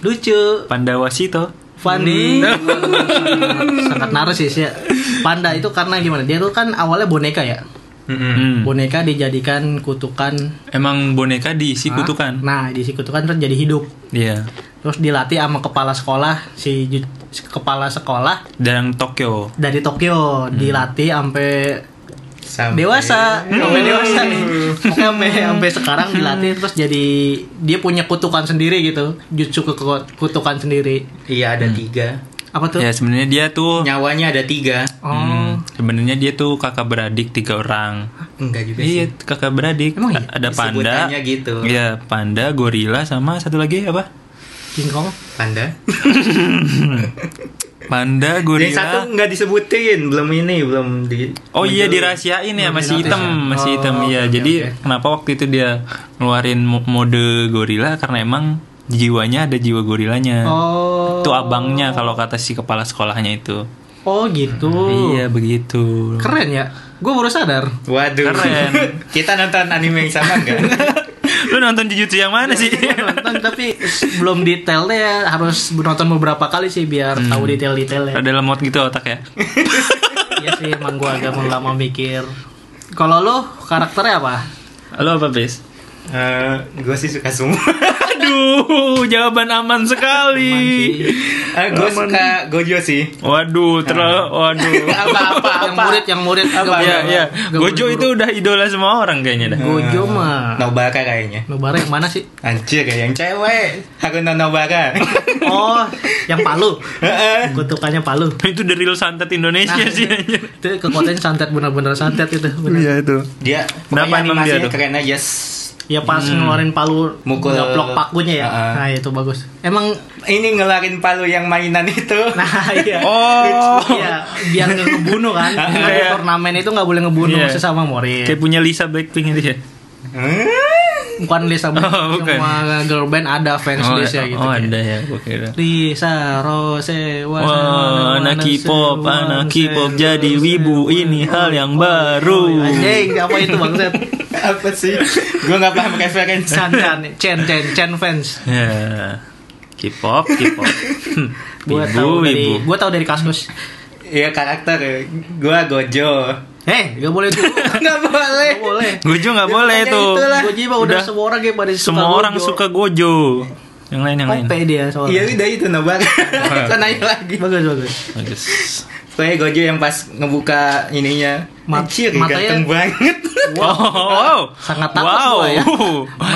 S1: Lucu,
S2: Pandawasito.
S1: funny,
S2: Hmm.
S1: sangat narsis ya. Panda itu karena gimana? Dia tuh kan awalnya boneka ya.
S3: Mm-mm.
S2: Hmm.
S1: Boneka dijadikan kutukan.
S2: Emang boneka diisi kutukan.
S1: Nah, diisi kutukan terus jadi hidup.
S2: Iya.
S1: terus dilatih sama kepala sekolah si ju- si kepala sekolah
S2: Dan Tokyo.
S1: dari Tokyo
S2: Hmm.
S1: dilatih sampai
S3: Sampai-
S1: dewasa
S2: Hmm.
S1: sampai dewasa nih Pokoknya sampai sampai sekarang dilatih terus jadi dia punya kutukan sendiri gitu jutsu ke kutukan sendiri
S3: Iya ada tiga.
S1: apa tuh
S2: Ya sebenarnya dia tuh
S3: Nyawanya ada tiga.
S1: oh
S2: Hmm, sebenarnya dia tuh kakak beradik tiga orang.
S3: Enggak juga sih.
S2: Iya, kakak beradik.
S1: Emang iya?
S2: Ada panda.
S3: Sebutannya gitu.
S2: Iya, panda, gorila sama satu lagi apa?
S1: King Kong
S3: Panda.
S2: Panda,
S3: Yang satu
S2: gorila.
S3: nggak disebutin, belum ini, belum di.
S2: Oh iya dirahasiain ya masih hitam, masih hitam
S1: Oh,
S2: ya. Jadi kenapa waktu itu dia ngeluarin mo- mode gorila karena emang jiwanya ada jiwa gorilanya.
S1: oh
S2: Itu abangnya kalau kata si kepala sekolahnya itu.
S1: oh gitu
S2: Iya begitu.
S1: keren ya gue baru sadar
S3: Waduh.
S2: Keren.
S3: Kita nonton anime yang sama enggak?
S2: Lu nonton Jujutsu yang mana sih?
S1: nonton tapi belum detailnya ya harus nonton beberapa kali sih biar
S2: Hmm.
S1: tahu detail-detailnya
S2: Ada lemot gitu otak ya.
S1: Iya sih, emang gue agak lama mikir. Kalau lo karakternya apa?
S2: Lu apa, Bes?
S3: Eh, gue sih suka semua.
S2: Aduh, jawaban aman sekali.
S3: gue suka Gojo sih.
S2: Waduh, terlalu waduh.
S3: Apa-apa
S1: Yang murid, yang murid. Apa?
S2: Iya, iya. Gojo itu Nah. udah idola semua orang kayaknya dah.
S1: Gojo mah.
S3: Nobara Eh, kayaknya.
S1: Nobara yang mana sih?
S3: Anjir ya yang cewek. Hakuna Nobara.
S1: Oh, yang Palu. Kutukannya Palu. Nah,
S2: Itu the real santet Indonesia Iya sih. Iya. anjir.
S1: Itu kekuatannya santet bener-bener santet itu. Bener.
S3: dia
S2: Kenapa
S3: pokoknya
S2: emang dia
S3: animasinya
S2: tuh?
S3: keren aja.
S1: Ya pas
S2: Hmm.
S1: ngeluarin Palu,
S3: Mukul.
S1: ngeplok pakunya ya.
S2: Ah.
S3: Heeh.
S1: Nah itu bagus. Emang,
S3: Ini ngelarin palu yang mainan itu.
S1: nah iya.
S2: Oh,
S1: Iya, biar nggak ngebunuh kan. Karena di
S2: Iya.
S1: turnamen itu nggak boleh ngebunuh
S2: Iya.
S1: sesama murid.
S2: kayak punya Lisa Blackpink itu ya.
S1: bukan list sama
S2: Oh, bukan.
S1: semua girl band ada fans
S2: Oh,
S1: list ya gitu.
S2: oh, ada ya, gua kira.
S1: Lisa Rose
S2: Wah, anak K-pop, anak K-pop jadi wibu ini hal yang baru.
S1: Anjing, apa itu bangset?
S3: Apa sih? gue nggak paham referensi.
S1: Chan Chan, Chen Chen Chen fans.
S2: Ya. K-pop, K-pop. Hmm,
S1: Gua
S2: wibu,
S1: tahu dari
S2: wibu.
S1: gua tahu dari kasus.
S3: Iya karakter. Gue Gojo.
S1: Eh, gak boleh tuh.
S3: Nggak boleh.
S1: Gak boleh.
S2: Gojo nggak
S3: Ya,
S2: boleh
S3: pokoknya
S2: tuh.
S3: itulah.
S1: Gua jiwa udah, semua orang kayak pada suka
S2: Semua orang
S1: Gojo.
S2: suka Gojo. Yang lain yang lain. Iya.
S1: Ope dia soalnya.
S3: Iya udah itu Nobara.
S1: Oh.
S3: Kita naik lagi.
S1: Bagus bagus.
S2: Bagus.
S3: Pokoknya Gojo yang pas ngebuka ininya.
S1: Mat-
S3: Anjir,
S1: matanya-
S3: ganteng banget.
S2: Wow. wow.
S1: Sangat takut
S2: wow.
S1: gua ya.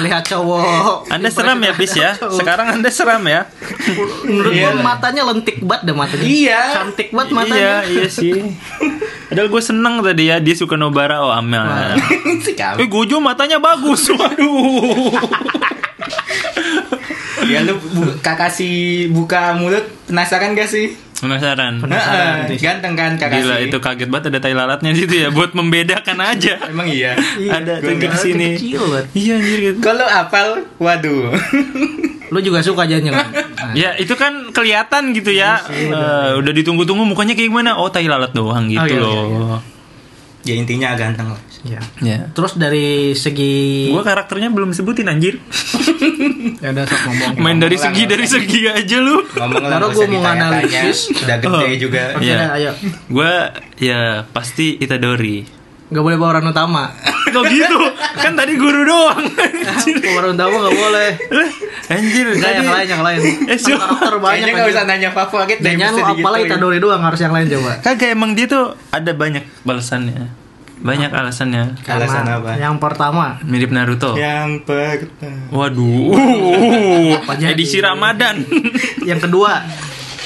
S1: Melihat cowok.
S2: Anda seram ya, Bis ya.
S1: Cowok.
S2: Sekarang Anda seram ya.
S1: Menurut gua
S3: Iya.
S1: matanya lentik banget deh matanya.
S3: Iya.
S1: Cantik banget matanya.
S2: Iya, iya sih. Padahal gue seneng tadi ya, dia suka Nobara oh Amel.
S3: si kamu.
S2: Eh, Gojo matanya bagus. Waduh.
S3: Ya lu bu- kakak si buka mulut penasaran gak sih?
S2: Penasaran.
S1: Penasaran,
S3: Heeh,
S1: Tis.
S3: ganteng kan kakak
S2: Gila
S3: si.
S2: itu kaget banget ada tai lalatnya di situ ya buat membedakan aja.
S3: Emang iya.
S2: Ada
S3: Gua
S2: tinggi
S3: nggak-
S2: di sini.
S1: Kecil banget.
S2: Iya anjir gitu.
S3: Kalau apal, waduh.
S1: Lu juga suka jangan
S2: Ya itu kan kelihatan gitu ya. Eh, udah ditunggu-tunggu mukanya kayak gimana? Oh tai lalat doang gitu
S1: Oh, iya, iya,
S2: loh.
S3: ya intinya ganteng lah.
S1: Ya.
S2: Ya.
S1: Terus dari segi
S2: Gua karakternya belum sebutin anjir.
S1: ya udah sok ngomong.
S2: Main dari
S3: ulang,
S2: segi
S3: ulang.
S1: ya.
S2: dari segi aja lu.
S3: Ngomong lah,
S1: Baru gua
S3: nggak usah
S1: mau
S3: ditanya-tanya.
S1: analisis.
S3: Udah gede juga.
S1: Oke
S2: Iya.
S1: dah, ayo.
S2: Gua ya pasti Itadori.
S1: nggak boleh pemeran utama
S2: Kok gitu? Kan tadi guru doang. Anjir.
S1: pemeran utama nggak boleh
S2: Anjir.
S1: nggak
S2: tadi-
S1: yang lain yang lain
S2: Eh, siapa?
S1: karakter banyak
S3: Kayaknya nggak
S1: anjir.
S3: usah nanya favorit deh. ya.
S1: Jangan lu
S3: mesti
S1: apalah
S3: digituin.
S2: ya.
S1: Itadori doang harus yang lain coba
S2: Kagak emang dia tuh ada banyak balasannya. Banyak alasannya.
S3: Alasan apa?
S1: Yang pertama
S2: Mirip Naruto.
S3: Yang pertama.
S2: Waduh.
S1: Apa jadi?
S2: Edisi Ramadan.
S1: Yang kedua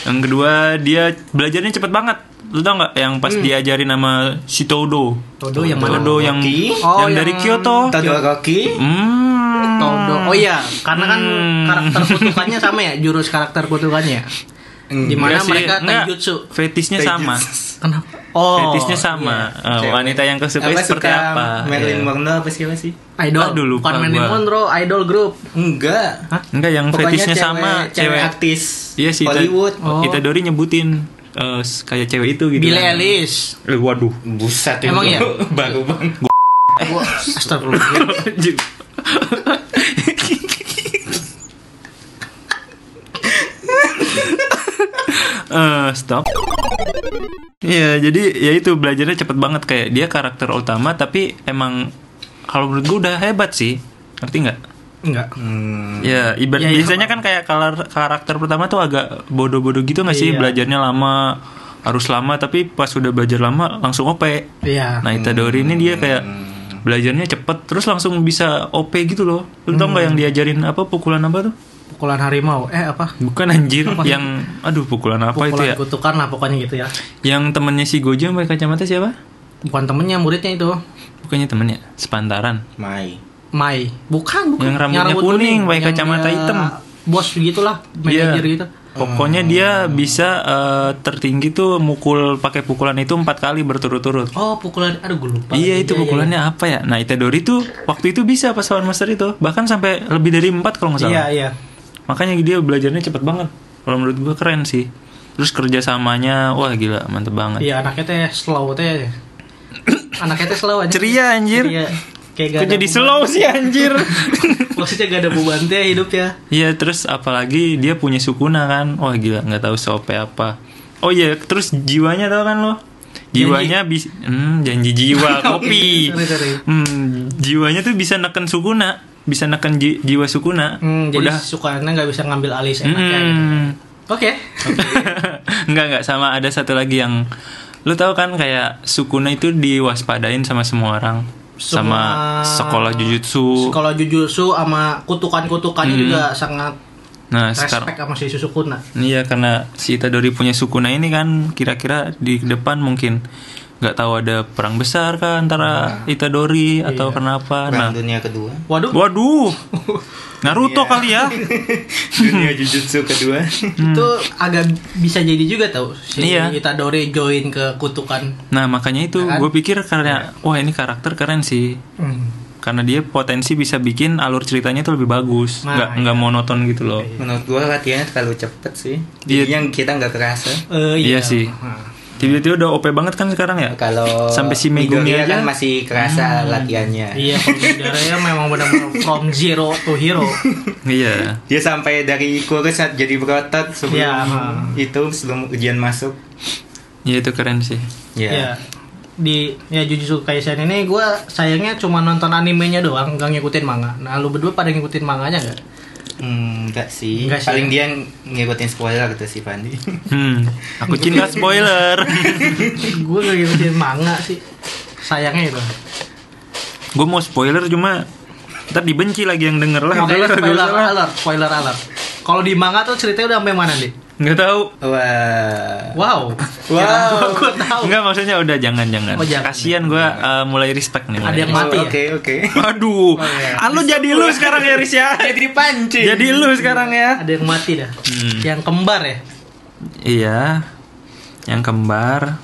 S2: Yang kedua dia belajarnya cepet banget. Lu tau nggak
S1: Hmm.
S2: yang pas diajarin sama si Todo?
S1: Todo yang mana?
S2: Todo yang
S3: Rocky?
S1: Oh,
S2: yang dari
S1: yang-
S2: Kyoto.
S3: Todoroki.
S2: Hmm.
S1: Todo Oh iya Karena kan
S2: Hmm.
S1: karakter kutukannya sama ya Jurus karakter kutukannya
S3: Hmm.
S1: Di mana
S2: Enggak sih,
S1: mereka kan
S2: enggak.
S1: taijutsu
S2: Fetisnya sama.
S1: Kenapa? Oh
S2: Fetisnya sama.
S3: iya.
S2: Eh,
S3: Cewek.
S2: wanita yang kau sukai
S3: Apa
S2: seperti
S3: suka
S2: apa? Iya.
S3: Marilyn Monroe apa siapa sih?
S1: Idol
S2: Aduh, lupa
S1: Bukan Marilyn
S2: gua.
S1: Monroe Idol group
S3: Enggak.
S2: Enggak yang fetisnya sama
S3: cewek artis
S2: Iya sih. Ita-
S3: Hollywood.
S1: Oh.
S2: Itadori nyebutin eh, s- kayak cewek itu gitu.
S1: Billie Eilish
S2: Eh, waduh.
S3: Buset
S1: Emang
S3: itu.
S1: iya?
S3: Baru bang.
S2: Eh.
S1: Gua- Astagfirullah
S2: Anjir. Eh, stop. Iya, jadi ya itu belajarnya cepet banget kayak dia karakter utama tapi emang kalau menurut gue udah hebat sih. Ngerti nggak?
S1: Enggak
S3: Hmm,
S2: Ya, ibarat
S1: Ya, ya.
S2: biasanya kan kayak kalar- karakter pertama tuh agak bodoh-bodoh gitu nggak sih?
S1: Iya.
S2: Belajarnya lama, harus lama tapi pas udah belajar lama langsung OP.
S1: Iya
S2: Nah Itadori ini dia kayak belajarnya cepet terus langsung bisa OP gitu loh. Lu tau nggak yang diajarin apa pukulan apa tuh?
S1: Pukulan harimau Eh apa?
S2: Bukan anjir yang aduh pukulan apa itu
S1: Pukulan
S2: ya?
S1: kutukan lah pokoknya gitu ya
S2: Yang temennya si Gojo yang pakai kacamata siapa?
S1: Bukan temennya muridnya itu
S2: Bukannya temennya sepantaran.
S3: Mai.
S1: Mai Bukan bukan
S2: Yang rambutnya kuning, pakai
S1: Yang
S2: kacamata
S1: dia
S2: hitam.
S1: Bos gitulah Manajer
S2: Iya.
S1: gitu
S2: Pokoknya dia bisa eh, tertinggi tuh mukul pakai pukulan itu empat kali berturut-turut.
S1: Oh pukulan Aduh gue lupa
S2: Iya itu pukulannya apa ya? Nah Itadori tuh waktu itu bisa pas Lawan Master itu bahkan sampai lebih dari empat kalau nggak salah.
S1: Iya iya
S2: Makanya dia belajarnya cepet banget. Kalau menurut gue keren sih. Terus kerjasamanya, wah gila mantep banget.
S1: Iya anaknya teh slow teh. anaknya teh slow aja.
S2: Ceria, anjir.
S1: Ceria. Kayak
S2: Kok jadi slow sih anjir?
S1: beban. Maksudnya gak ada beban teh hidup ya.
S2: Iya terus apalagi dia punya sukuna kan, wah gila nggak tahu sope apa. Oh iya terus jiwanya tau kan lo? Jiwanya bisa, hmm, janji jiwa kopi.
S1: Oh, iya, Sorry, sorry.
S2: Hmm, jiwanya tuh bisa neken sukuna, bisa neken ji- jiwa sukuna.
S1: Hmm, jadi
S2: Udah.
S1: sukanya nggak bisa ngambil alis enaknya. gitu.
S2: Hmm.
S1: Oke.
S2: Enggak enggak sama ada satu lagi yang lu tahu kan kayak sukuna itu diwaspadain sama semua orang. sama
S1: Semua-
S2: sekolah jujutsu.
S1: Kalau jujutsu sama kutukan-kutukannya juga sangat
S2: Hmm. nah, sekarang
S1: respect sama si Susukuna.
S2: iya karena si Itadori punya sukuna ini kan kira-kira di depan mungkin nggak tahu ada perang besar kan antara Itadori atau kenapa. Nah,
S3: Perang dunia kedua.
S1: Waduh,
S2: waduh. Naruto kali ya.
S3: dunia jujutsu kedua.
S1: itu agak bisa jadi juga tau si
S2: Hmm. Iya.
S1: Itadori join ke kutukan.
S2: Nah, Iya. makanya itu gue pikir karena wah ini karakter keren sih. karena dia potensi bisa bikin alur ceritanya tuh lebih bagus
S1: Nah,
S2: nggak nggak monoton gitu loh
S3: Menurut gua latihannya terlalu cepet sih.
S2: Iya.
S3: Jadi yang kita nggak kerasa.
S1: Eh,
S2: iya, sih tiba-tiba udah op banget kan sekarang ya
S3: Kalau
S2: Sampai si Megumi
S3: Midoriya kan
S2: aja.
S3: masih kerasa latihannya.
S1: Iya, kalau ya memang benar-benar from zero to hero.
S2: iya
S3: Dia sampai dari kurus jadi berotot sebelum
S1: Iya.
S3: itu sebelum ujian masuk.
S2: ya itu keren sih
S1: Iya. Di ya Jujutsu Kaisen ini gue sayangnya cuma nonton animenya doang, nggak ngikutin manga. Nah, lu berdua pada ngikutin manganya nggak?
S3: Hmm, enggak sih.
S1: Enggak sih.
S3: Paling dia ngikutin spoiler gitu sih Pandi.
S2: hmm aku cinta spoiler
S1: gue nggak ngikutin manga sih. Sayangnya itu.
S2: gue mau spoiler cuma ntar dibenci lagi yang denger lah
S1: Makanya
S2: udahlah, nggak
S1: spoiler
S2: usah lah.
S1: alert, spoiler alert. Kalau di manga tuh ceritanya udah sampai mana nih?
S2: nggak tahu
S3: Wah.
S1: Wow.
S3: Wow.
S1: gue tahu.
S2: nggak maksudnya udah jangan jangan
S1: Oh, jangan.
S2: kasian gue uh, mulai respect nih mulai
S1: Ada yang Oh, iya. mati
S2: respect.
S1: ya?
S3: Oh, Oke, oke.
S2: aduh ah, lu jadi lu sekarang ya Riz ya
S3: Jadi dipancing.
S2: jadi lu sekarang ya
S1: Ada yang mati dah.
S2: Hmm.
S1: Yang kembar ya.
S2: Iya, yang kembar.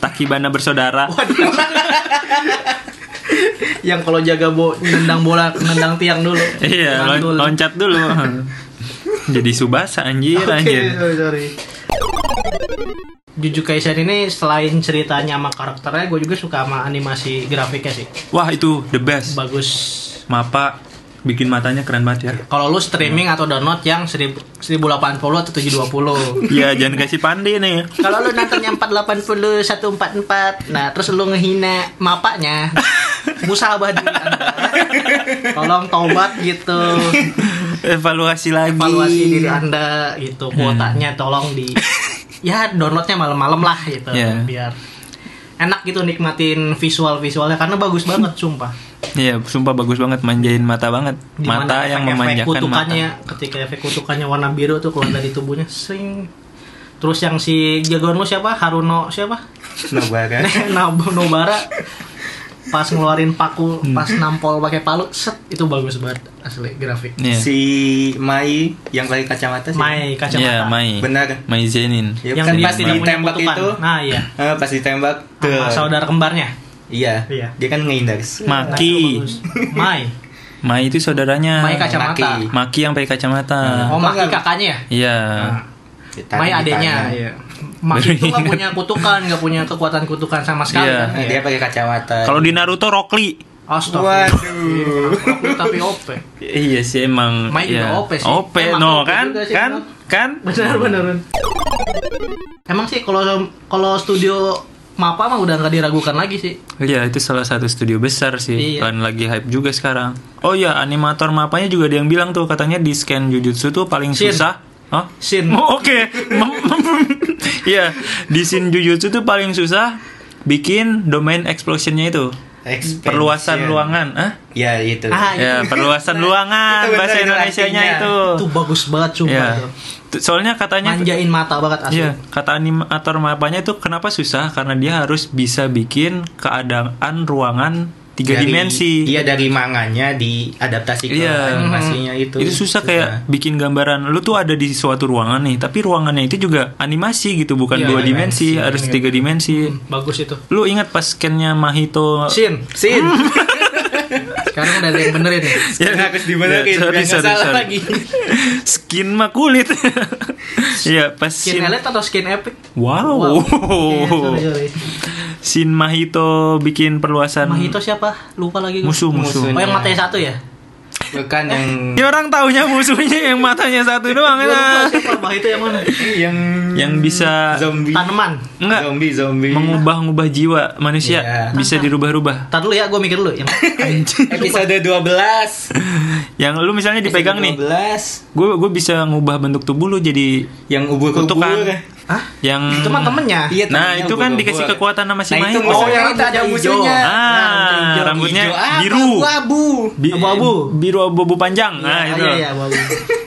S2: Takibana bersaudara.
S1: Waduh. yang kalau jaga bo nendang bola nendang tiang dulu.
S2: Iya,
S1: Mantul.
S2: lon- loncat dulu. Jadi subasa anjir
S1: Oke,
S2: anjir.
S1: sorry, sorry. Jujutsu Kaisen ini selain ceritanya sama karakternya, gue juga suka sama animasi grafiknya sih.
S2: Wah, itu the best.
S1: Bagus.
S2: Mapa bikin matanya keren banget ya.
S1: Kalau lu streaming atau download yang 1000 1080 atau 720.
S2: Iya, jangan kasih pandi nih.
S1: Kalau lu nontonnya 480 144, nah terus lu ngehina mapaknya, musabah diri Anda. Tolong tobat gitu.
S2: Evaluasi lagi.
S1: Evaluasi diri Anda gitu. Kuotanya tolong di ya downloadnya malam-malam lah gitu
S2: Iya.
S1: biar enak gitu nikmatin visual-visualnya karena bagus banget sumpah.
S2: Iya, sumpah bagus banget manjain mata banget.
S1: Dimana
S2: mata yang
S1: efek-efek
S2: memanjakan mata.
S1: kutukannya ketika efek kutukannya warna biru tuh keluar dari tubuhnya sing terus yang si jagoan lu siapa Haruno siapa
S3: Nobara.
S1: Nab- Nobara pas ngeluarin paku
S2: Hmm.
S1: pas nampol pakai palu set itu bagus banget asli grafik
S2: Iya.
S3: Si Mai yang pakai kacamata sih.
S1: Mai
S2: Iya,
S1: kacamata
S2: Mai.
S3: Benar.
S2: Mai Zenin.
S3: Ya, kan
S1: dia
S3: pas
S1: punya
S3: ditembak
S1: kutukan.
S3: itu.
S1: nah iya
S3: Eh, pas ditembak ke
S1: Sama saudara kembarnya
S3: Iya.
S1: Ah, Iya.
S3: Dia kan ngehindar.
S1: Itu
S2: Maki.
S1: bagus. Mai
S2: Mai itu saudaranya.
S1: Mai kacamata
S3: Maki.
S2: Maki yang pakai kacamata.
S1: oh Maki kakaknya ya
S2: Iya.
S3: Ditarik
S1: Mai
S3: di
S1: adanya
S3: tangan.
S1: iya. Maki itu nggak punya kutukan nggak punya kekuatan kutukan sama sekali
S2: Iya.
S1: kan?
S3: Nah, Dia pakai kacamata.
S2: Kalau di Naruto Rockly.
S1: Astagfirullah.
S3: Waduh.
S1: Aku tapi OP.
S2: Iya sih emang.
S1: Mai juga
S2: iya.
S1: OP sih.
S2: OP,
S1: Emang
S2: no
S1: OP
S2: kan?
S1: juga sih,
S2: Kan? Kan?
S1: Benar benar. Emang sih kalau kalau studio Mapa mah udah nggak diragukan lagi sih.
S2: Iya, itu salah satu studio besar sih.
S1: Iya.
S2: Dan lagi hype juga sekarang. Oh iya, animator mapanya juga ada yang bilang tuh katanya di scan Jujutsu tuh paling
S1: Shin.
S2: susah. Hah?
S1: Shin.
S2: Oh, Oke. Mem- mem- Iya, di Shin Jujutsu tuh paling susah bikin domain explosionnya itu.
S3: Expansion.
S2: Perluasan luangan, ah?
S3: Ya itu.
S1: Ah,
S2: Ya,
S1: itu,
S2: perluasan
S3: Itu
S2: luangan
S3: bener,
S2: bahasa
S3: itu
S2: Indonesianya
S3: artinya.
S2: itu.
S1: itu bagus banget sumpah
S2: Eh, Iya.
S1: tuh.
S2: T- Soalnya katanya
S1: Manjain mata banget asli.
S2: Iya, kata animator mapanya itu kenapa susah? Karena dia harus bisa bikin keadaan ruangan tiga
S3: Dari-
S2: dimensi.
S3: Iya dari manganya diadaptasi ke
S2: Iya.
S3: animasinya itu.
S2: Itu susah, kayak bikin gambaran lu tuh ada di suatu ruangan nih, tapi ruangannya itu juga animasi gitu, bukan
S1: Iya,
S2: dua
S1: animasi, Hmm.
S2: dimensi, harus tiga dimensi.
S1: Bagus itu.
S2: Lu ingat pas scan-nya Mahito
S1: Sin.
S3: Sin.
S1: Sekarang udah ada yang benerin ya.
S2: Ya,
S3: Yang harus dibenerin,
S2: ya, sorry,
S3: biar nggak
S2: sorry,
S3: salah
S2: sorry.
S3: lagi.
S2: Skin mah kulit. Iya, pas
S1: Skin
S2: scene-
S1: Elite atau Skin Epic?
S2: Wow.
S1: Iya, sorry, sorry.
S2: Shin Mahito bikin perluasan
S1: Mahito siapa? Lupa lagi. gue.
S2: musuh musuh.
S1: Oh yang matanya satu ya?
S3: Bukan Nah, kan yang
S2: Ini orang taunya musuhnya yang matanya satu
S1: Gue
S2: doang
S1: lupa
S2: kan.
S1: siapa Mahito yang mana?
S3: yang
S2: Yang bisa
S3: zombie.
S1: Tanaman.
S2: Iya. Ah, enggak
S3: Zombie zombie.
S2: mengubah-ubah jiwa manusia
S3: Iya.
S2: bisa dirubah-rubah.
S1: Tar dulu ya, gue mikir dulu. Yang
S3: Episode 12.
S2: Yang lu misalnya dipegang nih,
S3: 12.
S2: gue gue bisa ngubah bentuk tubuh lu jadi
S3: Yang ubur-ubur.
S2: Kutukan.
S1: Hah?
S2: yang
S1: Itu mah temennya.
S3: Iya,
S2: Nah,
S3: temennya
S2: itu kan
S3: ubur-ubur.
S2: dikasih kekuatan sama si
S3: Nah,
S2: Mai.
S3: itu
S1: Oh,
S3: musuhnya.
S1: yang
S3: Kita ada
S1: hijau.
S3: musuhnya.
S2: Ah,
S1: Nah,
S2: rambutnya
S3: Hijau ah, apa?
S2: biru.
S3: Abu.
S2: Bi-
S1: Abu-abu.
S2: Biru abu-abu panjang. Nah,
S1: Iya,
S2: itu.
S1: iya, iya, bagus.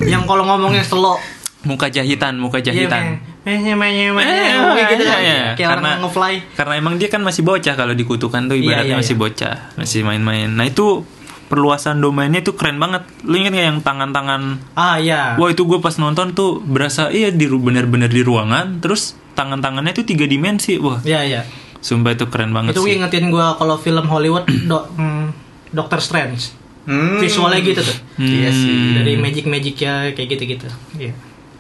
S1: yang kalau ngomongnya selo.
S2: Muka jahitan, muka
S1: Iya,
S2: jahitan.
S1: Menye menye
S2: Eh,
S1: menye gitu kan.
S2: iya,
S1: Kayak
S2: karena-
S1: orang ngefly.
S2: Karena emang dia kan masih bocah kalau dikutukan tuh
S1: Iya, iya,
S2: ibaratnya masih
S1: iya.
S2: bocah, masih main-main. Nah, itu perluasan domainnya itu keren banget. Lu inget gak yang tangan-tangan
S1: Ah iya.
S2: Wah itu gue pas nonton tuh berasa iya di ru- bener-bener di ruangan terus tangan-tangannya tuh tiga dimensi wah
S1: Iya, iya.
S2: sumpah itu keren banget
S1: Itu
S2: sih.
S1: ngingetin gue kalau film Hollywood do, mm, Doctor Strange.
S3: Hmm.
S1: Visualnya gitu tuh.
S3: Iya sih.
S2: Hmm.
S1: Dari magic-magic ya kayak gitu-gitu. Iya.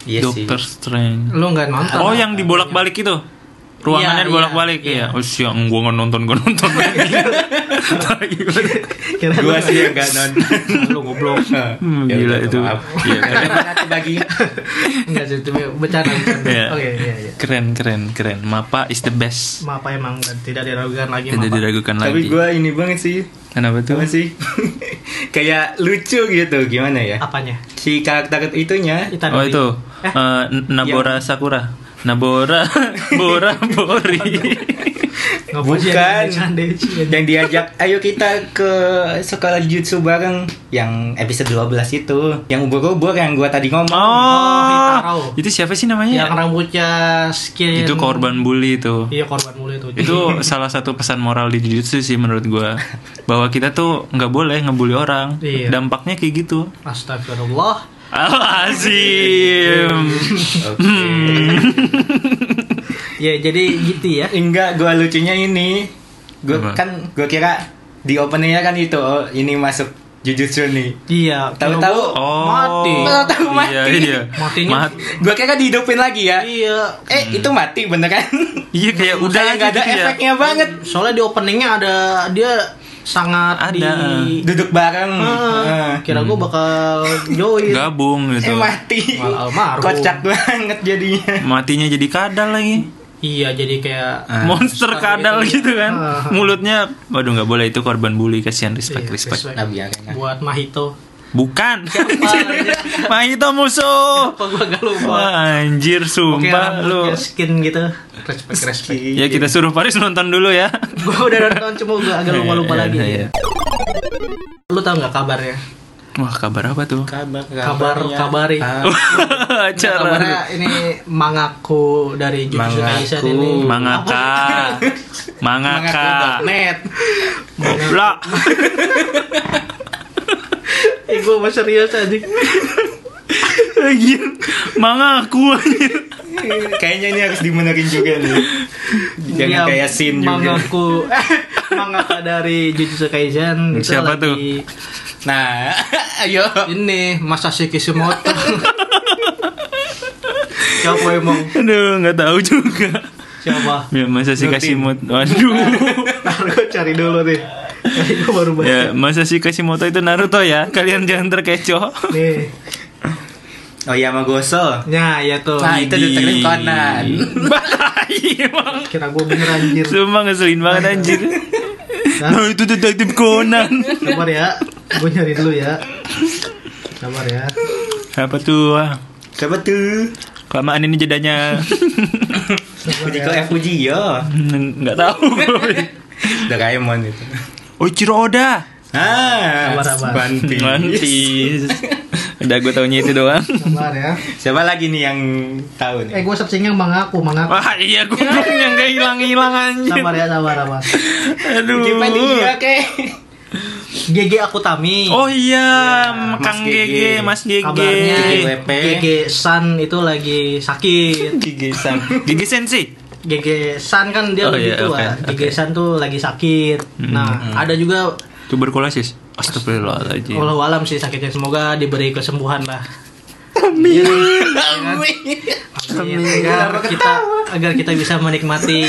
S3: Iya sih.
S2: Doctor Strange.
S1: Lu nggak nonton.
S2: Oh yang dibolak-balik itu
S1: Iya,
S2: ruangannya dibolak-balik
S1: iya,
S2: iya. Oh siang gue nggak nonton gue nonton.
S3: Ya
S2: Tai banget.
S1: Kira-
S3: Gua sih yang gak nonton.
S1: lu goblok.
S2: Hmm,
S3: Ya
S2: gila
S3: udah,
S2: itu.
S3: maaf.
S2: Iya, keren.
S3: Gimana tuh bagi?
S1: Enggak sih, itu bercanda. bercanda.
S2: Iya.
S1: Oke, iya, iya.
S2: keren keren keren. Mapa is the best.
S1: Maaf emang tidak diragukan lagi
S2: Tidak
S1: Mapa.
S2: diragukan
S3: Tapi
S2: lagi.
S3: gue ini banget sih.
S2: Kenapa tuh?
S3: Apa sih? Kayak lucu gitu gimana ya?
S1: Apanya?
S3: Si karakter itunya
S1: Itadori.
S2: Oh itu
S1: Eh,
S2: eh, N- Nabora Sakura. Nabora Bora Bori.
S1: ngapain sih
S3: Bukan.
S1: ada candeci?
S3: yang diajak ayo kita ke sekolah jutsu bareng yang episode 12 itu yang ubur-ubur yang gua tadi ngomong
S1: Hitaro.
S2: Oh, itu siapa sih namanya?
S1: Yang rambutnya skin.
S2: Itu korban bully itu.
S1: Iya korban mulu itu.
S2: Itu salah satu pesan moral di jujutsu sih menurut gua bahwa kita tuh nggak boleh ngebully orang.
S1: Iya.
S2: Dampaknya kayak gitu.
S1: Astagfirullah.
S2: Alazim.
S3: Oke.
S1: Hmm. Ya jadi gitu ya.
S3: enggak gua lucunya ini
S2: Apa?
S3: gua kan gua kira di openingnya kan itu oh, ini masuk jujutsu nih
S1: Iya.
S3: Tahu-tahu-
S1: kalau-
S2: Oh.
S1: mati.
S3: Tahu-tahu mati.
S2: Iya, iya.
S1: Matinya-
S2: Mat-
S3: gua kira dihidupin lagi ya
S1: Iya.
S3: eh itu mati beneran
S2: Iya kayak Hmm. udah
S3: kayak
S2: aja
S3: nggak ada
S2: gitu ya.
S3: efeknya banget
S1: Soalnya di openingnya ada dia sangat
S2: Ada. Hmm.
S1: di
S3: duduk bareng
S1: Ah,
S3: Heeh.
S1: kira gue bakal join
S2: gabung gitu
S3: eh mati
S1: Malah almarhum.
S3: kocak banget jadinya
S2: matinya jadi kadal lagi
S1: iya jadi kayak
S2: Ah. monster kadal gitu kan
S1: Ah.
S2: mulutnya waduh nggak boleh itu korban bully kasihan respect
S1: Iya,
S2: respect ya.
S1: respect.
S3: Nabi Arena.
S1: buat Mahito
S2: bukan Mahito musuh
S1: apa gue gak lupa
S2: Wah, anjir
S1: Kayak
S2: sumpah lu
S1: rambutnya skin gitu respect respect
S2: ya kita suruh Paris nonton dulu ya
S1: gue udah nonton cuma gue agak lupa lupa
S2: Iya,
S1: lagi ya.
S2: iya, iya.
S1: lu tau nggak kabarnya
S2: wah kabar apa tuh
S3: kabar Ah.
S1: kabar kabari
S2: Oh. acara
S1: kabarnya ini mangaku dari Jujutsu
S3: Mangaku.
S1: Kaisen ini
S2: mangaka mangaka
S1: net
S2: goblok
S1: eh gue mau serius tadi
S2: anjir mangaku anjir
S3: kayaknya ini harus dimenerin juga nih jangan
S1: Dia
S3: kayak sin juga
S1: mangaku mangaka dari Jujutsu Kaisen itu
S2: Siapa
S1: lagi
S2: tuh?
S3: nah ayo
S1: ini Masashi Kishimoto siapa emang
S2: aduh nggak tahu juga
S1: siapa
S2: ya masa sih
S3: Nutin.
S2: Kashimoto waduh
S1: Ntar gue cari dulu nih Tadi gue baru baca
S2: ya masa sih Kashimoto itu Naruto ya kalian jangan terkecoh
S1: Nih
S3: oh ya sama gosel
S1: Ya ya tuh
S3: Nah, itu ditekenin Conan.
S2: Bahaya, emang.
S1: Kira gue bener anjir
S2: Sumpah ngeselin banget
S3: Nah,
S2: anjir
S1: Hah?
S2: Nah itu detektif Conan
S1: Sabar ya Gue nyari dulu ya Sabar ya
S2: Apa tuh wah.
S3: siapa tuh
S2: Kelamaan ini jedanya
S1: Sabar
S3: Fujiko
S1: ya
S3: eh Fujiyo
S2: Hmm, nggak tahu Oh, gue.
S3: Doraemon itu
S2: Oichiro Oda
S3: ah
S1: Sabar, sabar.
S3: One Piece.
S2: One Piece. Udah gue taunya itu doang
S1: Sabar ya
S3: siapa lagi nih yang tahu
S1: Eh
S3: nih
S1: gue searchingnya mangaku Mangaku
S2: Wah iya gue yang gak hilang-hilang anjir
S1: Sabar ya sabar sabar
S2: Aduh
S3: Wikipedia kek
S1: GG Akutami
S2: ya, Oh iya
S3: Mas
S2: Kang
S3: Gege.
S2: Gege Mas
S1: Kabarnya
S2: Gege
S3: GGWP.
S1: GG San itu lagi sakit
S2: Gege San Gege Sensei
S1: GG San kan dia
S2: Oh,
S1: lebih
S2: iya,
S1: tua
S2: oke, Hmm,
S1: GG San tuh lagi sakit Nah ada juga
S2: Tuberkulosis Astagfirullahaladzim
S1: Walau alam sih sakitnya semoga diberi kesembuhan lah. Iya, kan? Amin. Agar kita agar kita bisa menikmati.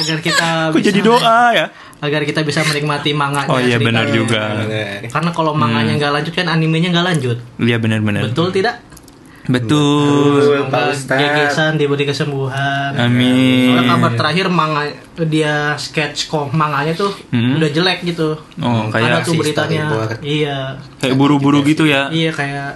S1: Agar kita
S2: Kok
S1: bisa,
S2: jadi doa ya
S1: Agar kita bisa menikmati manganya.
S2: Oh iya
S1: ceritanya.
S2: benar juga Hmm.
S1: Karena kalau manganya nggak lanjut kan animenya nggak lanjut.
S2: Iya benar-benar
S1: Betul tidak?
S2: Betul
S3: Betul, Pak Ustadz.
S1: Gegesan diberi kesembuhan.
S2: Amin
S1: Soalnya kabar terakhir manga dia sketch kom manganya tuh
S2: Hmm.
S1: udah jelek gitu.
S2: Oh
S1: Ada
S2: kayak
S1: tuh
S3: si
S1: beritanya.
S3: storyboard.
S1: Iya.
S2: kayak buru-buru gitu ya
S1: Iya kayak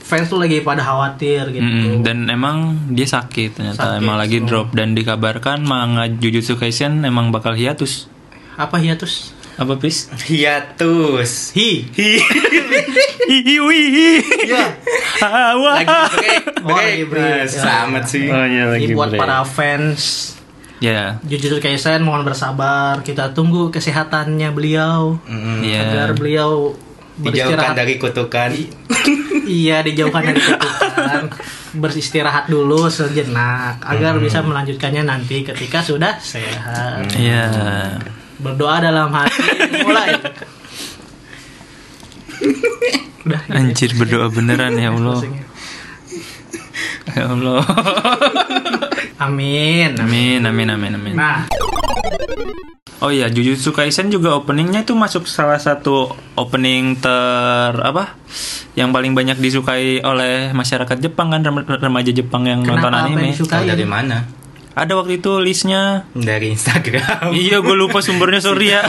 S1: fans tuh lagi pada khawatir gitu.
S2: Mm-mm, dan emang dia sakit ternyata
S1: Sakit,
S2: emang lagi drop dan dikabarkan manga Jujutsu Kaisen emang bakal hiatus.
S1: Apa hiatus?
S2: Apa pis?
S3: hiatus
S1: Hi.
S2: Hiwi.
S1: Iya.
S2: Hawa.
S3: lagi break
S1: Oh, lagi
S3: break
S1: break.
S3: Nah, selamat sih
S1: Ini buat para fans
S2: Ya.
S1: Jujutsu Kaisen mohon bersabar. Kita tunggu kesehatannya beliau
S3: Mm-mm.
S2: Iya.
S1: agar beliau beristirahat.
S3: dijauhkan dari kutukan
S1: iya, dijauhkan dari kutukan. beristirahat dulu sejenak agar bisa melanjutkannya nanti ketika sudah sehat.
S2: Iya.
S1: Berdoa dalam hati. Mulai. Udah.
S2: Anjir berdoa beneran ya Allah.
S1: closing-nya.
S2: Ya Allah.
S1: Amin.
S2: Amin amin amin amin.
S1: Nah,
S2: Oh iya, Jujutsu Kaisen juga openingnya tuh masuk salah satu opening ter apa yang paling banyak disukai oleh masyarakat Jepang kan rem- remaja Jepang yang
S1: Kenapa?
S2: nonton
S1: Apa yang
S2: anime.
S1: disukai?
S3: Tahu dari mana
S2: Ada waktu itu listnya.
S3: dari Instagram
S2: iya, gue lupa sumbernya sorry ya.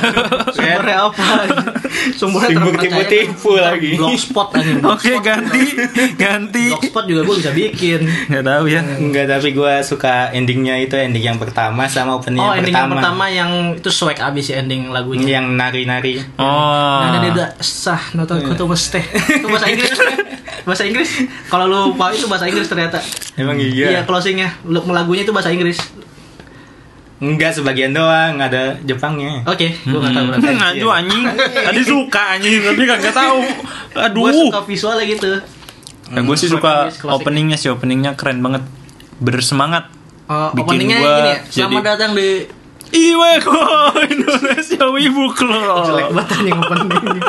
S1: sumbernya apa? Sumbernya
S3: Sibuk
S1: terpercaya.
S3: tipu-tipu lagi.
S1: Blogspot anjing.
S2: Oke, ganti, ganti.
S1: Blogspot juga gue bisa bikin.
S2: Gak tahu ya.
S3: Enggak, tapi gue suka endingnya itu ending yang pertama sama opening
S1: Oh,
S3: yang,
S1: ending yang
S3: pertama. Iya.
S1: pertama yang itu swag abis ya ending lagunya.
S3: yang nari-nari.
S2: Oh.
S1: Nah, dia udah sah nonton kutu mesti. Itu bahasa Inggris. bahasa Inggris. Kalau lu lupa itu bahasa Inggris ternyata.
S3: Emang
S1: Iya,
S3: iya.
S1: closingnya. Lu- Lagunya itu bahasa Inggris.
S3: Enggak sebagian doang ada Jepangnya.
S1: Oke, gue gak tau berarti. Iya.
S2: Hmm, aduh anjing. Tadi suka anjing, tapi kagak tahu.
S1: Gue
S2: Aduh.
S1: suka visualnya gitu.
S2: gue sih suka
S1: Closing.
S2: openingnya sih, openingnya keren banget. Bersemangat.
S1: Oh,
S2: Bikin
S1: openingnya
S2: gua
S1: gini ya. Selamat
S2: jadi-
S1: datang di
S2: Iwe ko Iya, Indonesia Wibu Club.
S1: jelek banget anjing openingnya.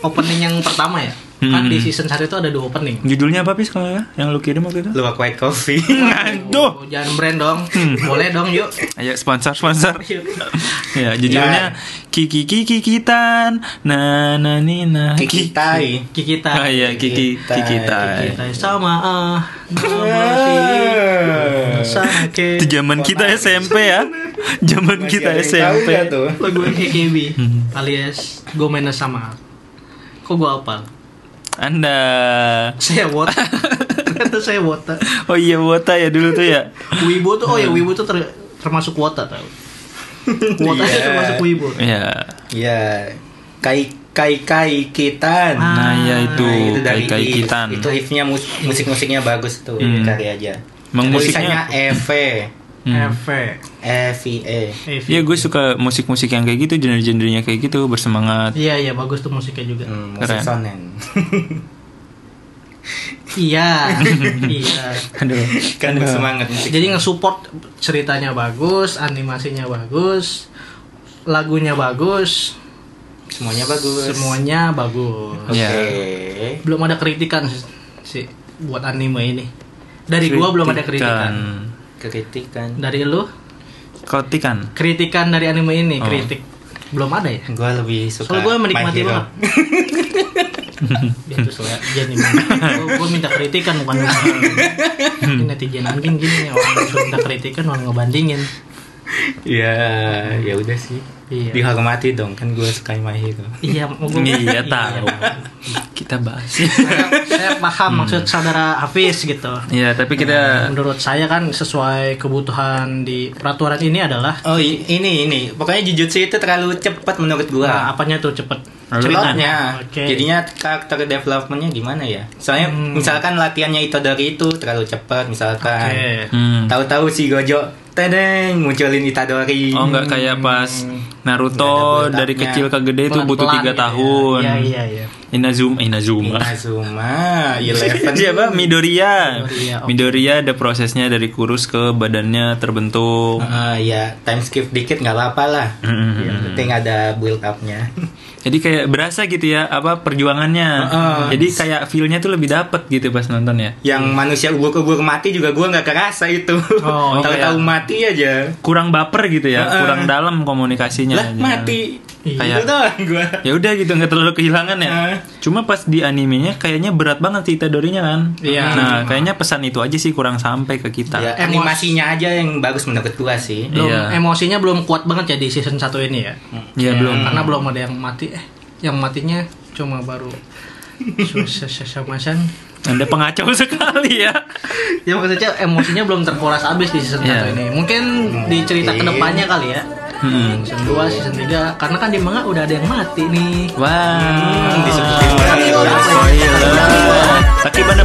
S1: Oh. Opening yang pertama ya?
S2: Mm-mm.
S1: Kan
S2: Hmm.
S1: di season 1 itu ada dua opening.
S2: Judulnya apa Pis kalau nggak? yang lu kirim waktu itu?
S3: Luwak white coffee.
S2: Aduh. Hmm.
S1: Oh, jangan brand dong. Boleh dong yuk.
S2: Ayo Iya, sponsor sponsor.
S3: Iya.
S1: Yuk.
S2: ya judulnya Kiki Kiki Kikitan na na ni na
S3: Kiki tai.
S1: Kikita.
S2: Ah iya Kiki
S3: Kikitan.
S2: Kikitan.
S1: Kita sama ah.
S3: Eh.
S2: Itu
S1: Sake.
S2: zaman kita SMP ya. Zaman
S3: Masih
S2: kita
S3: ada yang tahu
S2: SMP.
S3: nggak tuh?
S1: Lagu KKB
S2: Hmm.
S1: alias Gomena sama. Kok gua apal?
S2: Anda.
S1: Saya wota. Ternyata saya wota.
S2: Oh iya Wota ya dulu tuh ya.
S1: Wibu tuh oh ya Wibu tuh ter- termasuk wota tau. Wota itu
S3: Iya.
S1: termasuk Wibu.
S2: Ya.
S3: Ya, kai kai kai kitan.
S1: Ah.
S2: Nah, ya itu
S3: Ah, Nah, itu dari
S2: kai kai kitan.
S3: Itu if-nya mus- musik-musiknya bagus tuh,
S2: Hmm.
S3: cari aja.
S2: Emang
S3: Tulisannya E. EV,
S2: Hmm.
S1: EV.
S3: EVE.
S1: EV.
S2: Ya gue suka musik-musik yang kayak gitu, genre-genrenya kayak gitu, bersemangat.
S1: Iya iya bagus tuh musiknya juga.
S3: Hmm,
S2: Keren.
S3: musik sonen.
S1: Iya. iya.
S2: Aduh.
S3: kan bersemangat musik.
S1: Jadi nge-support ceritanya bagus, animasinya bagus, lagunya bagus,
S3: semuanya bagus.
S1: semuanya bagus.
S3: Oke.
S2: Ya.
S1: Belum ada kritikan sih buat anime ini. Dari gua belum ada kritikan.
S3: Kritikan.
S1: Dari lu?
S2: Kritikan.
S1: Kritikan dari anime ini,
S2: Oh.
S1: kritik. Belum ada ya?
S3: Gue lebih suka
S1: Soalnya gue
S3: My
S1: menikmati
S3: Hero.
S1: banget. Dia tuh soalnya jadi Gue minta kritikan bukan Ini netizen anjing gini nih, orang suruh minta kritikan orang ngebandingin.
S3: Iya, ya udah sih.
S1: Iya.
S3: Dihormati dong, kan gue suka My Hero.
S1: Iya, mau gua-
S2: Iya tahu. Hmm. Kita bahas.
S1: Saya- saya paham maksud saudara Hafiz gitu.
S2: Iya, tapi kita
S1: Menurut saya kan sesuai kebutuhan di peraturan ini adalah
S3: Oh, i- ini ini. Pokoknya Jujutsu itu terlalu cepat menurut gue.
S1: nah, apanya tuh cepet.
S2: Ceritanya.
S3: Plotnya,
S1: Oke.
S3: jadinya karakter developmentnya gimana ya? Soalnya
S1: Hmm.
S3: misalkan latihannya itu dari itu terlalu cepat misalkan.
S1: Oke.
S2: Hmm.
S3: Tahu-tahu si Gojo tedeng munculin Itadori.
S2: Oh nggak kayak pas
S3: Nggak
S2: Naruto
S3: ada
S2: dari
S3: botaknya.
S2: kecil ke gede itu
S1: Pelan-pelan
S2: butuh tiga
S1: gitu ya.
S2: tahun.
S1: Iya iya iya.
S2: Inazuma, Inazuma.
S3: Inazuma, Eleven.
S2: Siapa? Midoriya.
S1: Midoriya, oke.
S2: Midoriya ada prosesnya dari kurus ke badannya terbentuk.
S3: Ah, ya time skip dikit nggak apa-apa lah.
S1: Hmm.
S2: Mm-mm.
S3: Yang penting ada build upnya.
S2: Jadi kayak berasa gitu ya apa perjuangannya.
S3: Heeh.
S2: Jadi kayak feel-nya tuh lebih dapet gitu pas nonton ya.
S3: Yang
S1: Hmm.
S3: manusia ubur-ubur mati juga gua nggak kerasa itu.
S1: Oh,
S3: Tahu-tahu mati aja.
S2: Kurang baper gitu ya,
S3: Heeh.
S2: kurang dalam komunikasinya.
S3: Lah
S2: Jadi-
S3: mati.
S1: Ya, Iya.
S3: Itu doang gua.
S2: Ya udah gitu nggak terlalu kehilangan ya.
S3: Heeh.
S2: Cuma pas di animenya kayaknya berat banget cerita dorinya kan.
S1: Iya.
S2: Nah, kayaknya pesan itu aja sih kurang sampai ke kita.
S3: Ya, animasinya aja yang bagus menurut gua sih.
S1: Belum
S2: Iya.
S1: emosinya belum kuat banget ya di season 1 ini ya.
S2: Ya, belum.
S3: Iya.
S1: Karena belum ada yang mati eh yang matinya cuma baru susah sama San.
S2: Anda pengacau sekali ya.
S1: Ya maksudnya emosinya belum terkuras habis di season 1
S2: Iya.
S1: ini. Mungkin di cerita
S3: Mungkin.
S1: kedepannya kali ya. Season 2, season 3 Karena kan di manga udah ada yang mati nih
S2: Wah.
S3: disebutin.
S2: Spoiler. Sakit banget.